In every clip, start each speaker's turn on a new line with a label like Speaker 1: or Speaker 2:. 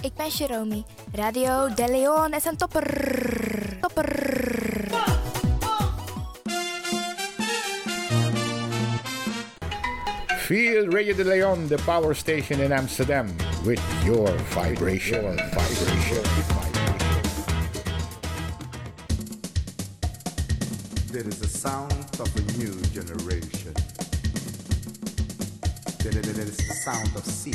Speaker 1: Ik ben Jerome. Radio De Leon is een topper. Topper.
Speaker 2: Feel Radio de Leon, the power station in Amsterdam, with your vibration. vibration.
Speaker 3: There is a sound of a new generation. There there- there is the sound of sea.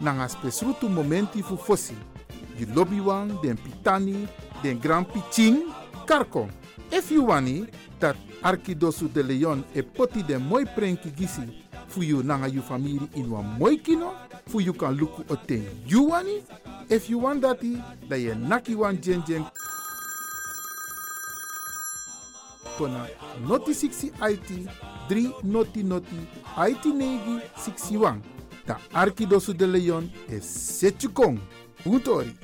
Speaker 4: nanga spesrutu momenti fu fosi. You lobby wan den pitani den grand piching karko. If you wani dat Arquidosu de Leon e poti den moi prenki gisi fu you nanga you famiri in wan moi kino fu you kan luku oten. You wani? If you want dati, da ye naki wan jen jen kona noti 60 IT 3 noti noti IT negi 61. Da Arquidosu de Leon e setu kong. Utori.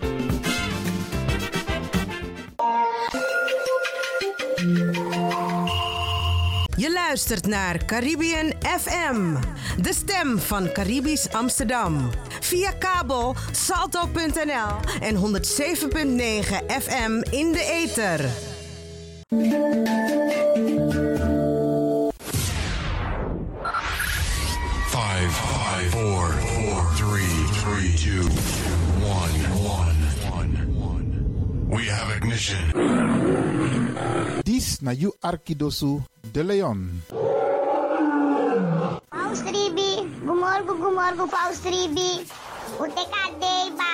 Speaker 5: Je luistert naar Caribbean FM, de stem van Caribisch Amsterdam. Via kabel salto.nl en 107.9 FM in de ether.
Speaker 6: Five, five, four, four, three, three, two, one, one, one. We have ignition.
Speaker 4: Dis na you Arquidosu de Leon.
Speaker 7: Paus 3B, gumorgo, gumorgo, Paus 3B. O Decadeiba.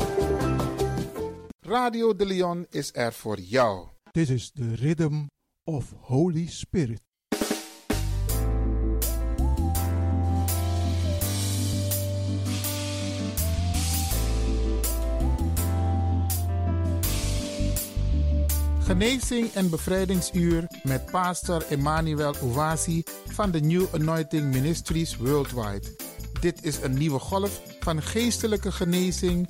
Speaker 4: Radio de Leon is er voor jou.
Speaker 8: This is the rhythm of Holy Spirit.
Speaker 4: Genezing en bevrijdingsuur met pastor Emmanuel Owasi van de New Anointing Ministries Worldwide. Dit is een nieuwe golf van geestelijke genezing,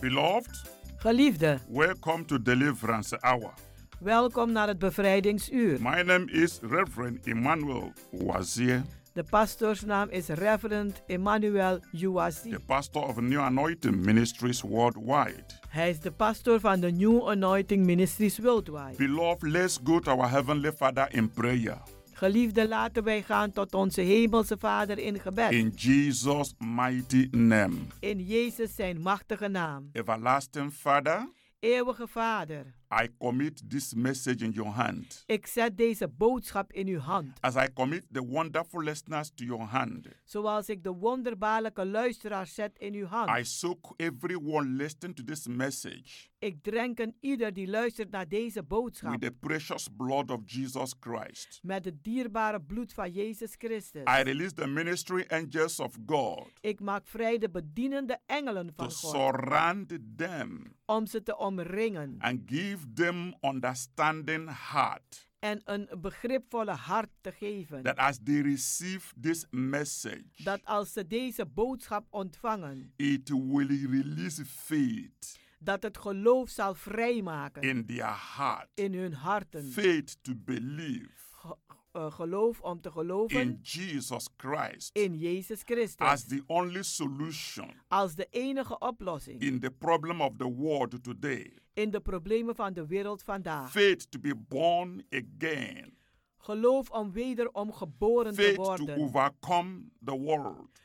Speaker 7: Beloved,
Speaker 9: Geliefde,
Speaker 7: welcome to Deliverance Hour.
Speaker 9: welkom naar het bevrijdingsuur.
Speaker 7: My name is Reverend Emmanuel Wazier,
Speaker 9: De pastoorsnaam is Reverend Emmanuel Uwasi.
Speaker 7: the pastor of New Anointing Ministries worldwide.
Speaker 9: Hij is de pastoor van de New Anointing Ministries Worldwide.
Speaker 7: Beloved, let's go to our Heavenly Father in prayer.
Speaker 9: Geliefde, laten wij gaan tot onze hemelse Vader in gebed.
Speaker 7: In Jesus' mighty name.
Speaker 9: In Jezus zijn machtige naam.
Speaker 7: Everlasting Father,
Speaker 9: Eeuwige Vader,
Speaker 7: I commit this message in your hand.
Speaker 9: ik zet deze boodschap in uw hand.
Speaker 10: Ah.
Speaker 7: As I commit the wonderful listeners to your hand,
Speaker 9: Zoals ik de wonderbaarlijke luisteraar zet in uw
Speaker 10: Ah.
Speaker 9: hand.
Speaker 7: I soak everyone listening to this message
Speaker 9: Ik drenken ieder die luistert naar deze boodschap.
Speaker 7: with the precious blood of Jesus Christ.
Speaker 9: Met het dierbare bloed van Jezus Christus.
Speaker 7: I release the ministry angels of God
Speaker 9: Ik maak vrij de bedienende engelen
Speaker 7: to
Speaker 9: van God.
Speaker 7: surround them
Speaker 9: Om ze te omringen.
Speaker 7: and give them understanding heart
Speaker 9: En een begripvolle hart te geven.
Speaker 7: that as they receive this message
Speaker 9: Dat als ze deze boodschap ontvangen.
Speaker 7: it will release faith
Speaker 9: Dat het geloof zal vrijmaken.
Speaker 7: in their heart
Speaker 9: in hun harten.
Speaker 7: faith to believe
Speaker 9: Ge- eh, geloof om te
Speaker 7: in
Speaker 9: geloven.
Speaker 7: Jesus Christ
Speaker 9: In Jezus
Speaker 7: as
Speaker 9: Christus.
Speaker 7: the only solution
Speaker 9: Als de enige oplossing.
Speaker 7: in the problem of the world today
Speaker 9: In de problemen van de wereld vandaag.
Speaker 7: faith to be born again
Speaker 9: Geloof om wederom geboren te
Speaker 7: faith to
Speaker 9: worden.
Speaker 7: overcome the world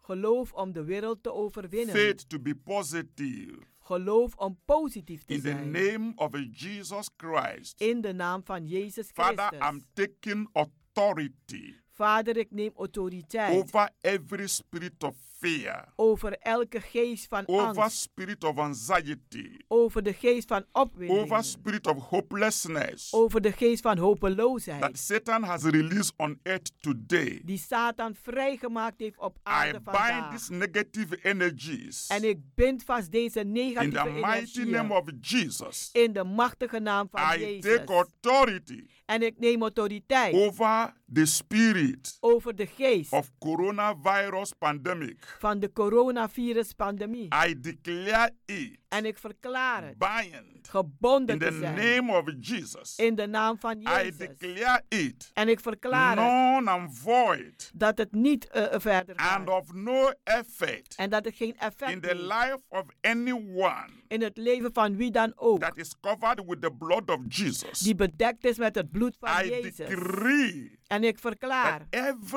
Speaker 9: Geloof om de wereld te overwinnen.
Speaker 7: faith to be positive
Speaker 9: Geloof om positief te
Speaker 7: in the
Speaker 9: zijn.
Speaker 7: name of Jesus Christ.
Speaker 9: In de naam van Jezus
Speaker 7: Father,
Speaker 9: Christus.
Speaker 7: I'm taking authority
Speaker 9: Vader, ik neem autoriteit
Speaker 7: over every spirit of fear,
Speaker 9: over elke geest van
Speaker 7: over
Speaker 9: angst,
Speaker 7: spirit of anxiety,
Speaker 9: over de geest van
Speaker 7: over
Speaker 9: opwinding,
Speaker 7: spirit of hopelessness
Speaker 9: over de geest van
Speaker 7: that
Speaker 9: hopeloosheid,
Speaker 7: Satan has released on earth today.
Speaker 9: die Satan vrijgemaakt heeft op
Speaker 7: I
Speaker 9: aarde
Speaker 7: bind
Speaker 9: vandaag.
Speaker 7: these negative energies
Speaker 9: En ik bind vast deze
Speaker 7: in the
Speaker 9: negatieve
Speaker 7: mighty name
Speaker 9: energie
Speaker 7: of Jesus.
Speaker 9: in de machtige naam van
Speaker 7: I take
Speaker 9: Jezus.
Speaker 7: authority
Speaker 9: En ik neem autoriteit
Speaker 7: over the spirit
Speaker 9: over de geest
Speaker 7: of coronavirus pandemic.
Speaker 9: van de coronavirus-pandemie.
Speaker 7: I declare it
Speaker 9: En ik verklaar het
Speaker 7: bind
Speaker 9: gebonden
Speaker 7: in the
Speaker 9: te zijn
Speaker 7: name of Jesus.
Speaker 9: in de naam van
Speaker 7: I
Speaker 9: Jezus.
Speaker 7: declare it
Speaker 9: En ik verklaar het
Speaker 7: non and void
Speaker 9: dat het niet eh, eh, verder gaat.
Speaker 7: and of no effect
Speaker 9: En dat het geen
Speaker 7: in
Speaker 9: effect
Speaker 7: the
Speaker 9: heeft
Speaker 7: life of anyone
Speaker 9: in het leven van wie dan ook.
Speaker 7: that is covered with the blood of Jesus.
Speaker 9: Die bedekt is met het bloed van
Speaker 7: I
Speaker 9: Jezus.
Speaker 7: decree
Speaker 9: En ik verklaar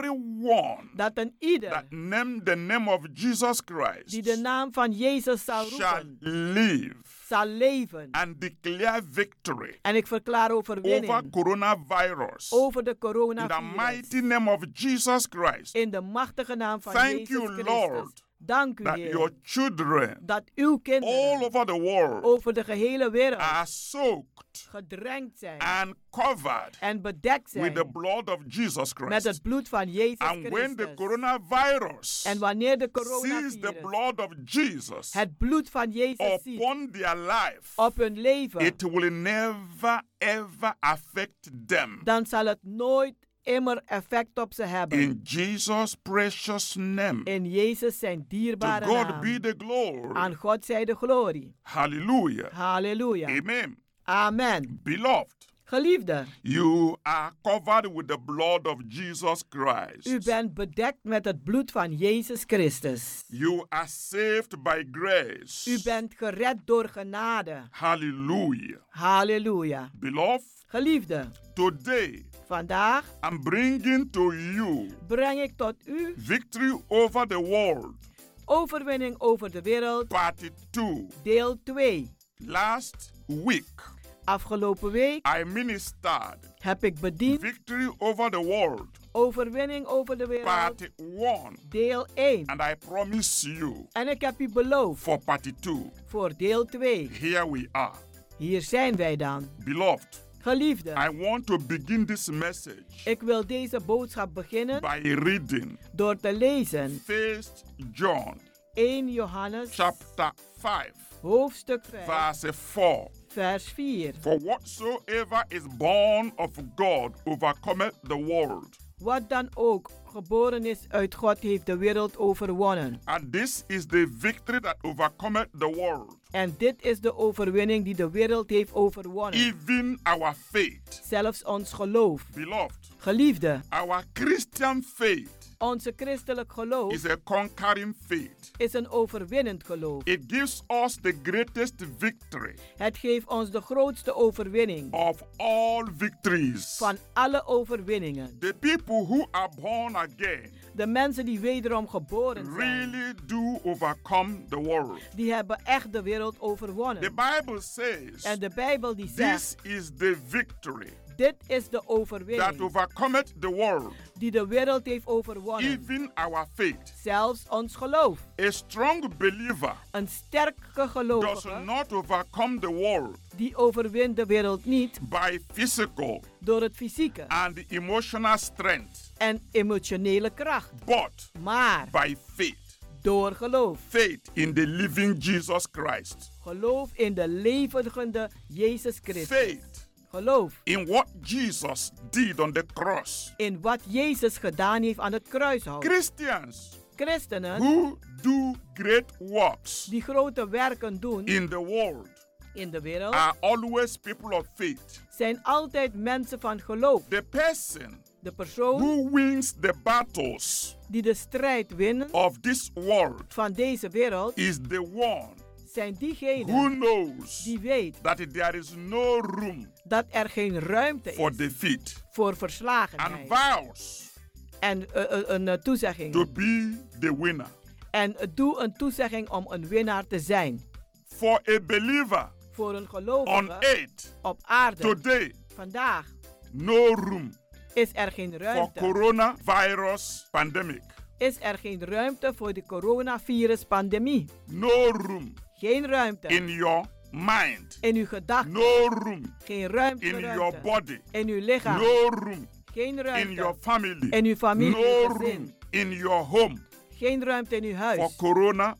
Speaker 7: everyone
Speaker 9: dat een ieder
Speaker 7: that named the name of Jesus Christ
Speaker 9: die de naam van Jezus zal
Speaker 7: shall
Speaker 9: roepen,
Speaker 7: live
Speaker 9: zal leven.
Speaker 7: and declare victory
Speaker 9: En ik verklaar
Speaker 7: over
Speaker 9: overwinning
Speaker 7: coronavirus.
Speaker 9: over de
Speaker 7: In the
Speaker 9: coronavirus.
Speaker 7: mighty name of Jesus Christ,
Speaker 9: In de machtige naam van
Speaker 7: Thank
Speaker 9: Jezus
Speaker 7: you,
Speaker 9: Christus.
Speaker 7: Lord,
Speaker 9: Dank u,
Speaker 7: that your
Speaker 9: Heer,
Speaker 7: children
Speaker 9: dat uw kinderen
Speaker 7: all over the world
Speaker 9: over de gehele wereld
Speaker 7: are soaked
Speaker 9: gedrenkt zijn
Speaker 7: and covered
Speaker 9: en bedekt
Speaker 7: Ah. with the
Speaker 9: zijn
Speaker 7: blood of Jesus
Speaker 9: met
Speaker 7: Christ.
Speaker 9: het bloed van Jezus
Speaker 7: And when the
Speaker 9: Christus.
Speaker 7: coronavirus
Speaker 9: En wanneer de
Speaker 7: sees
Speaker 9: coronavirus
Speaker 7: the blood of Jesus
Speaker 9: het bloed van Jezus ziet
Speaker 7: upon their life,
Speaker 9: op hun leven,
Speaker 7: it will never ever affect them.
Speaker 9: dan zal het nooit immer effect op ze hebben.
Speaker 7: In Jesus' precious name,
Speaker 9: In Jezus zijn
Speaker 7: to
Speaker 9: dierbare
Speaker 7: God be
Speaker 9: naam.
Speaker 7: the glory.
Speaker 9: Aan God zij de glorie.
Speaker 7: Hallelujah.
Speaker 9: Halleluja.
Speaker 7: Amen.
Speaker 9: Amen.
Speaker 7: Beloved,
Speaker 9: Geliefde,
Speaker 7: you are covered with the blood of Jesus Christ.
Speaker 9: u bent bedekt met het bloed van Jezus Christus.
Speaker 7: You are saved by grace.
Speaker 9: U bent gered door genade.
Speaker 7: Hallelujah.
Speaker 9: Halleluja.
Speaker 7: Beloved,
Speaker 9: Geliefde,
Speaker 7: today
Speaker 9: vandaag
Speaker 7: I'm bringing to you
Speaker 9: breng ik tot u
Speaker 7: victory over the world,
Speaker 9: overwinning over de wereld,
Speaker 7: part 2.
Speaker 9: deel 2.
Speaker 7: Last week,
Speaker 9: Afgelopen week
Speaker 7: I ministered
Speaker 9: heb ik bediend
Speaker 7: victory over the world,
Speaker 9: overwinning over de wereld,
Speaker 7: part 1.
Speaker 9: deel 1.
Speaker 7: And I promise you,
Speaker 9: En ik heb u beloofd
Speaker 7: for part 2,
Speaker 9: voor deel 2.
Speaker 7: here we are.
Speaker 9: Hier zijn wij dan.
Speaker 7: Beloved,
Speaker 9: Geliefde,
Speaker 7: I want to begin this message
Speaker 9: ik wil deze boodschap beginnen
Speaker 7: by reading
Speaker 9: door te lezen
Speaker 7: 1 John
Speaker 9: 1 Johannes
Speaker 7: chapter 5,
Speaker 9: hoofdstuk 5
Speaker 7: verse 4.
Speaker 9: vers 4.
Speaker 7: For whatsoever is born of God overcometh the world.
Speaker 9: Wat dan ook geboren is uit God heeft de wereld overwonnen.
Speaker 7: And this is the victory that overcometh the world,
Speaker 9: En dit is de overwinning die de wereld heeft overwonnen.
Speaker 7: even our faith.
Speaker 9: Zelfs ons geloof.
Speaker 7: Beloved,
Speaker 9: Geliefde,
Speaker 7: our Christian faith
Speaker 9: onze christelijk
Speaker 7: is
Speaker 9: geloof
Speaker 7: a conquering faith.
Speaker 9: is een overwinnend geloof.
Speaker 7: It gives us the greatest victory
Speaker 9: Het geeft ons de grootste overwinning
Speaker 7: of all victories.
Speaker 9: van alle overwinningen.
Speaker 7: The people who are born again
Speaker 9: De mensen die wederom geboren zijn,
Speaker 7: really do overcome the world.
Speaker 9: die hebben echt de wereld
Speaker 7: The
Speaker 9: overwonnen.
Speaker 7: Bible says
Speaker 9: En de Bijbel die
Speaker 7: this
Speaker 9: zegt,
Speaker 7: is the victory
Speaker 9: dit is de
Speaker 7: that
Speaker 9: overwinning
Speaker 7: overcometh the world,
Speaker 9: die de wereld heeft overwonnen.
Speaker 7: even our faith.
Speaker 9: Zelfs ons geloof.
Speaker 7: A strong believer
Speaker 9: Een sterke
Speaker 7: does
Speaker 9: gelovige
Speaker 7: not overcome the world
Speaker 9: die overwint de wereld niet
Speaker 7: by physical
Speaker 9: door het fysieke
Speaker 7: and emotional strength,
Speaker 9: en emotionele kracht,
Speaker 7: but
Speaker 9: maar
Speaker 7: by faith.
Speaker 9: door geloof.
Speaker 7: Faith in the living Jesus Christ.
Speaker 9: Geloof in de levende Jezus Christus.
Speaker 7: Faith
Speaker 9: Geloof
Speaker 7: in what Jesus did on the cross.
Speaker 9: in wat Jezus gedaan heeft aan het kruishout.
Speaker 7: Christians
Speaker 9: Christenen
Speaker 7: who do great works
Speaker 9: die grote werken doen
Speaker 7: in the world
Speaker 9: in de wereld
Speaker 7: are always people of faith.
Speaker 9: zijn altijd mensen van geloof.
Speaker 7: The person
Speaker 9: De persoon
Speaker 7: who wins the battles
Speaker 9: die de strijd winnen
Speaker 7: of this world
Speaker 9: van deze wereld
Speaker 7: is the one
Speaker 9: zijn
Speaker 7: who
Speaker 9: diegenen
Speaker 7: knows
Speaker 9: die weet
Speaker 7: that there is no room
Speaker 9: dat er geen ruimte
Speaker 7: for
Speaker 9: is
Speaker 7: defeat
Speaker 9: voor
Speaker 7: and
Speaker 9: verslagenheid
Speaker 7: vows
Speaker 9: en eh, eh, een eh,
Speaker 7: to
Speaker 9: toezegging.
Speaker 7: be the winner.
Speaker 9: En eh, doe een toezegging om een winnaar te zijn.
Speaker 7: For a believer
Speaker 9: Voor een
Speaker 7: on
Speaker 9: gelovige
Speaker 7: earth
Speaker 9: op aarde
Speaker 7: today,
Speaker 9: vandaag
Speaker 7: no room
Speaker 9: is er geen
Speaker 7: for
Speaker 9: ruimte.
Speaker 7: coronavirus pandemic,
Speaker 9: Is er geen ruimte voor de coronavirus-pandemie?
Speaker 7: no room
Speaker 9: Geen ruimte
Speaker 7: in your mind,
Speaker 9: in uw gedachten.
Speaker 7: no room
Speaker 9: Geen ruimte
Speaker 7: in your
Speaker 9: ruimte.
Speaker 7: body,
Speaker 9: in uw lichaam.
Speaker 7: no room
Speaker 9: Geen
Speaker 7: in your
Speaker 9: ruimte
Speaker 7: family,
Speaker 9: in uw familie,
Speaker 7: no
Speaker 9: uw gezin.
Speaker 7: room in your home
Speaker 9: Geen ruimte in uw
Speaker 7: for
Speaker 9: huis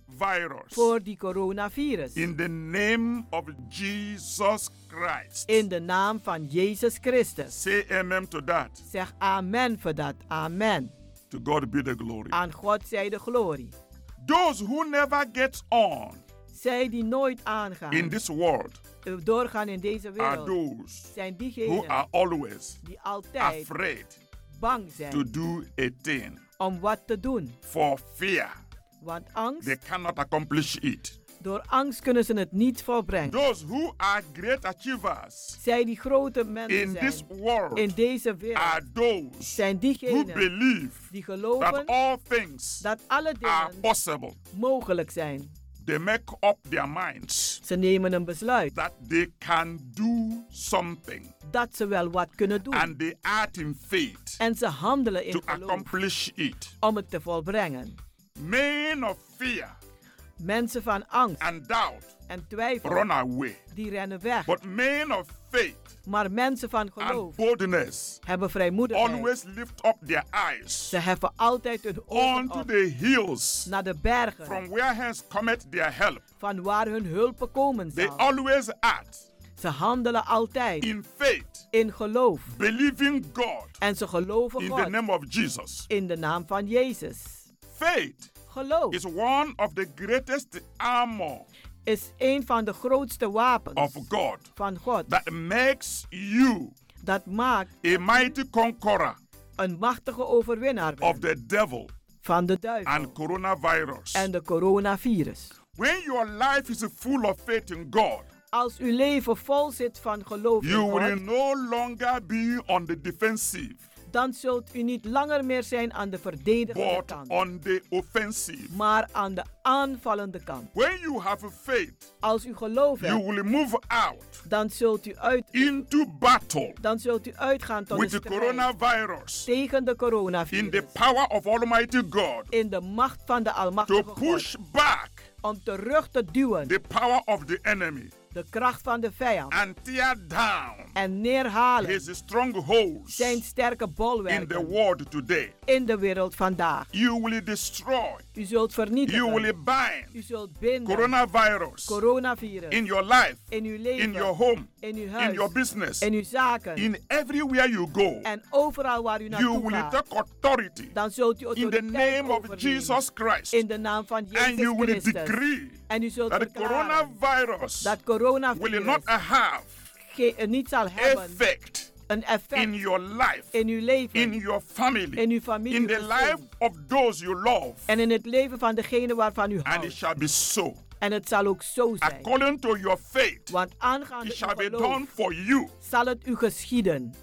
Speaker 7: coronavirus.
Speaker 9: voor die coronavirus.
Speaker 7: In the name of Jesus Christ.
Speaker 9: In de naam van Jezus Christus.
Speaker 7: Say amen to that.
Speaker 9: Zeg amen voor dat. Amen.
Speaker 7: To God be the glory.
Speaker 9: Aan God zij de glorie.
Speaker 7: Those who never get on
Speaker 9: Zij die nooit aangaan,
Speaker 7: in this world
Speaker 9: eh, doorgaan in deze
Speaker 7: are
Speaker 9: wereld,
Speaker 7: those
Speaker 9: zijn
Speaker 7: who
Speaker 9: diegenen
Speaker 7: are always
Speaker 9: die altijd
Speaker 7: afraid
Speaker 9: bang
Speaker 7: to
Speaker 9: zijn
Speaker 7: do a thing
Speaker 9: om wat te doen.
Speaker 7: for fear
Speaker 9: Want angst,
Speaker 7: they cannot accomplish it.
Speaker 9: door angst kunnen ze het niet volbrengen.
Speaker 7: Those who are great achievers
Speaker 9: Zij die grote mensen
Speaker 7: in Ah, this
Speaker 9: zijn
Speaker 7: world
Speaker 9: in deze
Speaker 7: are
Speaker 9: wereld,
Speaker 7: those
Speaker 9: zijn
Speaker 7: who
Speaker 9: diegenen
Speaker 7: believe
Speaker 9: die
Speaker 7: that
Speaker 9: geloven
Speaker 7: all things
Speaker 9: dat alle
Speaker 7: are
Speaker 9: dingen
Speaker 7: possible.
Speaker 9: mogelijk zijn.
Speaker 7: They make up their minds
Speaker 9: Ze nemen een besluit
Speaker 7: that they can do something
Speaker 9: dat ze wel wat kunnen doen.
Speaker 7: and they act in faith
Speaker 9: En ze handelen
Speaker 7: to
Speaker 9: in geloof
Speaker 7: accomplish it.
Speaker 9: om het te volbrengen.
Speaker 7: Men of fear
Speaker 9: Mensen van angst
Speaker 7: and doubt
Speaker 9: en twijfel,
Speaker 7: run away,
Speaker 9: die rennen weg.
Speaker 7: but men of faith
Speaker 9: Maar mensen van
Speaker 7: and
Speaker 9: geloof
Speaker 7: boldness
Speaker 9: hebben vrijmoedigheid.
Speaker 7: always lift up their eyes
Speaker 9: Ze heffen altijd hun ogen
Speaker 7: unto
Speaker 9: op
Speaker 7: the hills
Speaker 9: naar de bergen,
Speaker 7: from where hence cometh their help.
Speaker 9: van waar hun hulp komen
Speaker 7: They
Speaker 9: zal.
Speaker 7: always act
Speaker 9: Ze handelen altijd
Speaker 7: in faith,
Speaker 9: in geloof.
Speaker 7: believing God
Speaker 9: En ze geloven
Speaker 7: in the
Speaker 9: God
Speaker 7: name of Jesus.
Speaker 9: in de naam van Jezus.
Speaker 7: Faith
Speaker 9: Geloof
Speaker 7: is one of the greatest armor
Speaker 9: is een van de grootste
Speaker 7: of
Speaker 9: wapens
Speaker 7: God
Speaker 9: van God.
Speaker 7: that makes you
Speaker 9: Dat maakt
Speaker 7: a mighty conqueror
Speaker 9: een machtige overwinnaar
Speaker 7: of
Speaker 9: bent
Speaker 7: the devil
Speaker 9: van de
Speaker 7: and
Speaker 9: duivel
Speaker 7: coronavirus.
Speaker 9: en de coronavirus.
Speaker 7: When your life is full of faith in God,
Speaker 9: Als uw leven vol zit van geloof in
Speaker 7: you will
Speaker 9: God,
Speaker 7: no longer be on the defensive,
Speaker 9: dan zult u niet langer meer zijn aan de verdedigende
Speaker 7: but
Speaker 9: kant,
Speaker 7: on the offensive.
Speaker 9: maar aan de aanvallende kant.
Speaker 7: When you have a faith,
Speaker 9: Als u geloof
Speaker 7: you
Speaker 9: hebt,
Speaker 7: will move out
Speaker 9: dan zult u uit
Speaker 7: into battle
Speaker 9: dan zult u uitgaan tot
Speaker 7: with
Speaker 9: de
Speaker 7: the
Speaker 9: strijd
Speaker 7: coronavirus
Speaker 9: tegen de
Speaker 7: in the
Speaker 9: coronavirus
Speaker 7: power of Almighty God
Speaker 9: in de macht van de
Speaker 7: to
Speaker 9: Almachtige
Speaker 7: push
Speaker 9: God
Speaker 7: back
Speaker 9: om terug te duwen
Speaker 7: the power of the enemy
Speaker 9: de kracht van de vijand
Speaker 7: and tear down
Speaker 9: en neerhalen
Speaker 7: his strongholds
Speaker 9: zijn sterke
Speaker 7: in the
Speaker 9: bolwerken
Speaker 7: world today.
Speaker 9: in de wereld vandaag.
Speaker 7: You will destroy,
Speaker 9: U zult
Speaker 7: you will
Speaker 9: vernietigen,
Speaker 7: bind
Speaker 9: u zult binden
Speaker 7: coronavirus
Speaker 9: coronavirus
Speaker 7: in your life,
Speaker 9: in uw leven,
Speaker 7: in your home,
Speaker 9: in uw huis,
Speaker 7: in your business,
Speaker 9: in uw zaken
Speaker 7: in everywhere you go.
Speaker 9: en overal waar u
Speaker 7: You
Speaker 9: naartoe
Speaker 7: will
Speaker 9: gaat.
Speaker 7: take authority
Speaker 9: Dan zult u
Speaker 7: in the
Speaker 9: autoriteit
Speaker 7: name of
Speaker 9: overnemen.
Speaker 7: Jesus Christ
Speaker 9: in de naam van
Speaker 7: and you
Speaker 9: Jezus
Speaker 7: will
Speaker 9: Christus.
Speaker 7: decree
Speaker 9: En u zult
Speaker 7: that the
Speaker 9: verklaren
Speaker 7: coronavirus
Speaker 9: dat corona
Speaker 7: will not have
Speaker 9: niet zal hebben
Speaker 7: effect
Speaker 9: een effect
Speaker 7: in your life,
Speaker 9: in uw leven,
Speaker 7: in your family,
Speaker 9: in uw familie,
Speaker 7: in the
Speaker 9: gezin.
Speaker 7: life of those you love,
Speaker 9: en in het leven van degene waarvan u
Speaker 7: and it
Speaker 9: houdt.
Speaker 7: shall be so.
Speaker 9: En het zal ook zo zijn.
Speaker 7: According to your faith,
Speaker 9: Want aangaande
Speaker 7: it
Speaker 9: uw
Speaker 7: shall be
Speaker 9: geloof
Speaker 7: done for you.
Speaker 9: zal het u geschieden.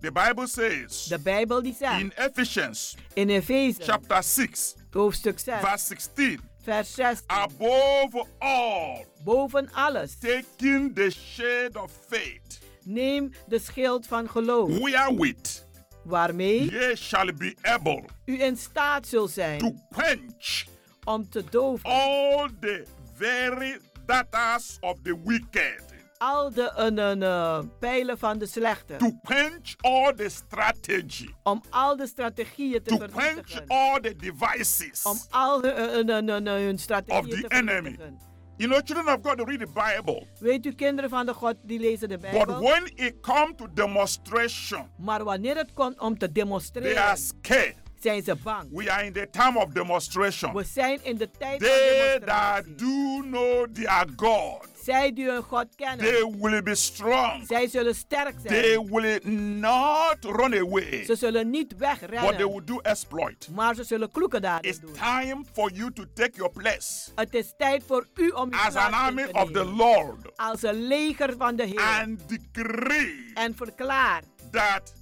Speaker 7: The Bible says
Speaker 9: De Bijbel die
Speaker 7: in
Speaker 9: zegt
Speaker 7: Ephesians
Speaker 9: in Efeze
Speaker 7: chapter 6,
Speaker 9: hoofdstuk 6
Speaker 7: verse 16,
Speaker 9: vers 6
Speaker 7: above all,
Speaker 9: boven alles
Speaker 7: taking the shade of faith,
Speaker 9: neem de schild van geloof
Speaker 7: wherewith
Speaker 9: waarmee
Speaker 7: ye shall be able
Speaker 9: u in staat zult zijn
Speaker 7: quench
Speaker 9: om te doven
Speaker 7: all the very datas of the wicked,
Speaker 9: al de een, een, eh, pijlen van de slechte
Speaker 7: to quench all the strategy,
Speaker 9: om al de strategieën te
Speaker 7: to quench
Speaker 9: vernietigen
Speaker 7: all the devices.
Speaker 9: om al de, eh, eh, eh, eh, hun
Speaker 7: of
Speaker 9: strategieën
Speaker 7: the
Speaker 9: te
Speaker 7: enemy.
Speaker 9: vernietigen.
Speaker 7: You know, children of God read the Bible,
Speaker 9: Weet u, kinderen van de God, die lezen de
Speaker 7: but
Speaker 9: Bijbel.
Speaker 7: when it comes to demonstration,
Speaker 9: Maar wanneer het komt om te
Speaker 7: they are
Speaker 9: demonstreren,
Speaker 7: scared.
Speaker 9: zijn ze bang.
Speaker 7: We are in the time of demonstration.
Speaker 9: We zijn in de tijd van
Speaker 7: They
Speaker 9: demonstratie.
Speaker 7: that do know their God,
Speaker 9: Zij die hun God
Speaker 7: they
Speaker 9: kennen,
Speaker 7: will be strong.
Speaker 9: zij zullen sterk
Speaker 7: They
Speaker 9: zijn.
Speaker 7: will not run away,
Speaker 9: Ze zullen niet
Speaker 7: but they
Speaker 9: wegrennen,
Speaker 7: will do exploit.
Speaker 9: maar ze zullen kloeke daden
Speaker 7: It's
Speaker 9: doen.
Speaker 7: time for you to take your place
Speaker 9: Het is tijd voor u om uw
Speaker 7: as an
Speaker 9: plaats in
Speaker 7: army
Speaker 9: te
Speaker 7: of the
Speaker 9: nemen.
Speaker 7: Lord
Speaker 9: Als een leger van de Heer.
Speaker 7: and decree
Speaker 9: En verklaar
Speaker 7: that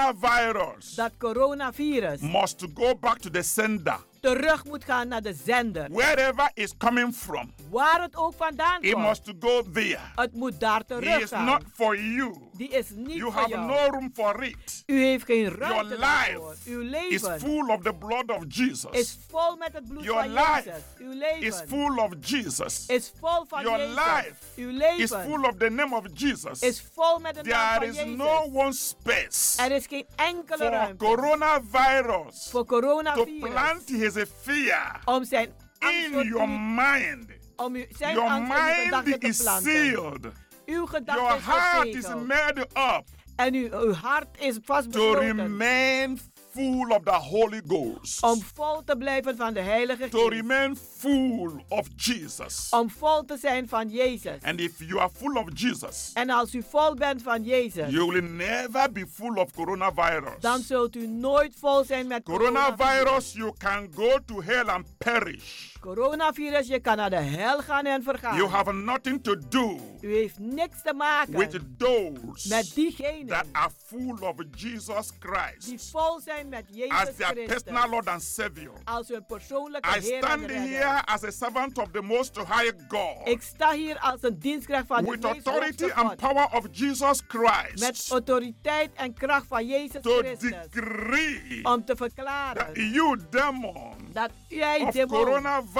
Speaker 7: coronavirus
Speaker 9: dat coronavirus
Speaker 7: must go back to the sender.
Speaker 9: terug moet gaan naar de zender.
Speaker 7: Wherever it's coming from,
Speaker 9: Waar het ook vandaan
Speaker 7: it
Speaker 9: komt.
Speaker 7: must go there.
Speaker 9: Het moet daar
Speaker 7: It
Speaker 9: terug
Speaker 7: is not
Speaker 9: gaan.
Speaker 7: for you.
Speaker 9: Die is niet
Speaker 7: You
Speaker 9: voor
Speaker 7: have
Speaker 9: jou.
Speaker 7: no room for it.
Speaker 9: U heeft geen
Speaker 7: Your
Speaker 9: ruimte daarvoor.
Speaker 7: life
Speaker 9: Uw
Speaker 7: is
Speaker 9: leven
Speaker 7: full of the blood of
Speaker 9: is
Speaker 7: Jesus.
Speaker 9: vol met het bloed
Speaker 7: Your
Speaker 9: van
Speaker 7: life
Speaker 9: Jezus. Uw
Speaker 7: is
Speaker 9: leven
Speaker 7: full of Jesus.
Speaker 9: is vol van
Speaker 7: Your
Speaker 9: Jezus.
Speaker 7: life
Speaker 9: Uw
Speaker 7: It's
Speaker 9: leven
Speaker 7: full of the name of Jesus.
Speaker 9: is vol met de naam
Speaker 7: There
Speaker 9: van
Speaker 7: is
Speaker 9: Jezus.
Speaker 7: no one space
Speaker 9: er is geen
Speaker 7: for
Speaker 9: enkele ruimte
Speaker 7: coronavirus
Speaker 9: voor
Speaker 7: to plant
Speaker 9: coronavirus
Speaker 7: his fear
Speaker 9: om zijn angst tot
Speaker 7: in your
Speaker 9: u-
Speaker 7: mind.
Speaker 9: om u, zijn
Speaker 7: Your
Speaker 9: angst in uw
Speaker 7: mind
Speaker 9: gedachten te
Speaker 7: is
Speaker 9: planten.
Speaker 7: sealed.
Speaker 9: Uw
Speaker 7: Your
Speaker 9: gedachten
Speaker 7: heart
Speaker 9: is
Speaker 7: is
Speaker 9: verzegeld.
Speaker 7: made up
Speaker 9: En uw, uw hart is
Speaker 7: to
Speaker 9: vastbesloten
Speaker 7: remain full of the Holy Ghost,
Speaker 9: om vol te blijven van de Heilige
Speaker 7: to
Speaker 9: Geest.
Speaker 7: remain full of Jesus.
Speaker 9: Om vol te zijn van Jezus.
Speaker 7: And if you are full of Jesus,
Speaker 9: En als u vol bent van Jezus,
Speaker 7: you will never be full of coronavirus.
Speaker 9: dan zult u nooit vol zijn met coronavirus.
Speaker 7: Coronavirus, you can go to hell and perish.
Speaker 9: Coronavirus, je kan naar de hel gaan en vergaan.
Speaker 7: You have nothing to do
Speaker 9: U heeft niks te maken
Speaker 7: with those
Speaker 9: met diegenen
Speaker 7: that are full of Jesus
Speaker 9: die
Speaker 7: Christ
Speaker 9: vol zijn met Jezus
Speaker 7: as their personal
Speaker 9: Christus
Speaker 7: Lord and Savior.
Speaker 9: als hun persoonlijke
Speaker 7: I
Speaker 9: Heer en
Speaker 7: stand
Speaker 9: Redder.
Speaker 7: here as a servant of the Most High God
Speaker 9: Ik sta hier als een dienstknecht van de
Speaker 7: with
Speaker 9: meest
Speaker 7: authority
Speaker 9: hoogste
Speaker 7: and
Speaker 9: God.
Speaker 7: power of Jesus
Speaker 9: Met
Speaker 7: Christ
Speaker 9: autoriteit en kracht van Jezus
Speaker 7: to
Speaker 9: Christus.
Speaker 7: decree
Speaker 9: Om te verklaren
Speaker 7: that you, demon
Speaker 9: dat jij
Speaker 7: of
Speaker 9: demon van
Speaker 7: coronavirus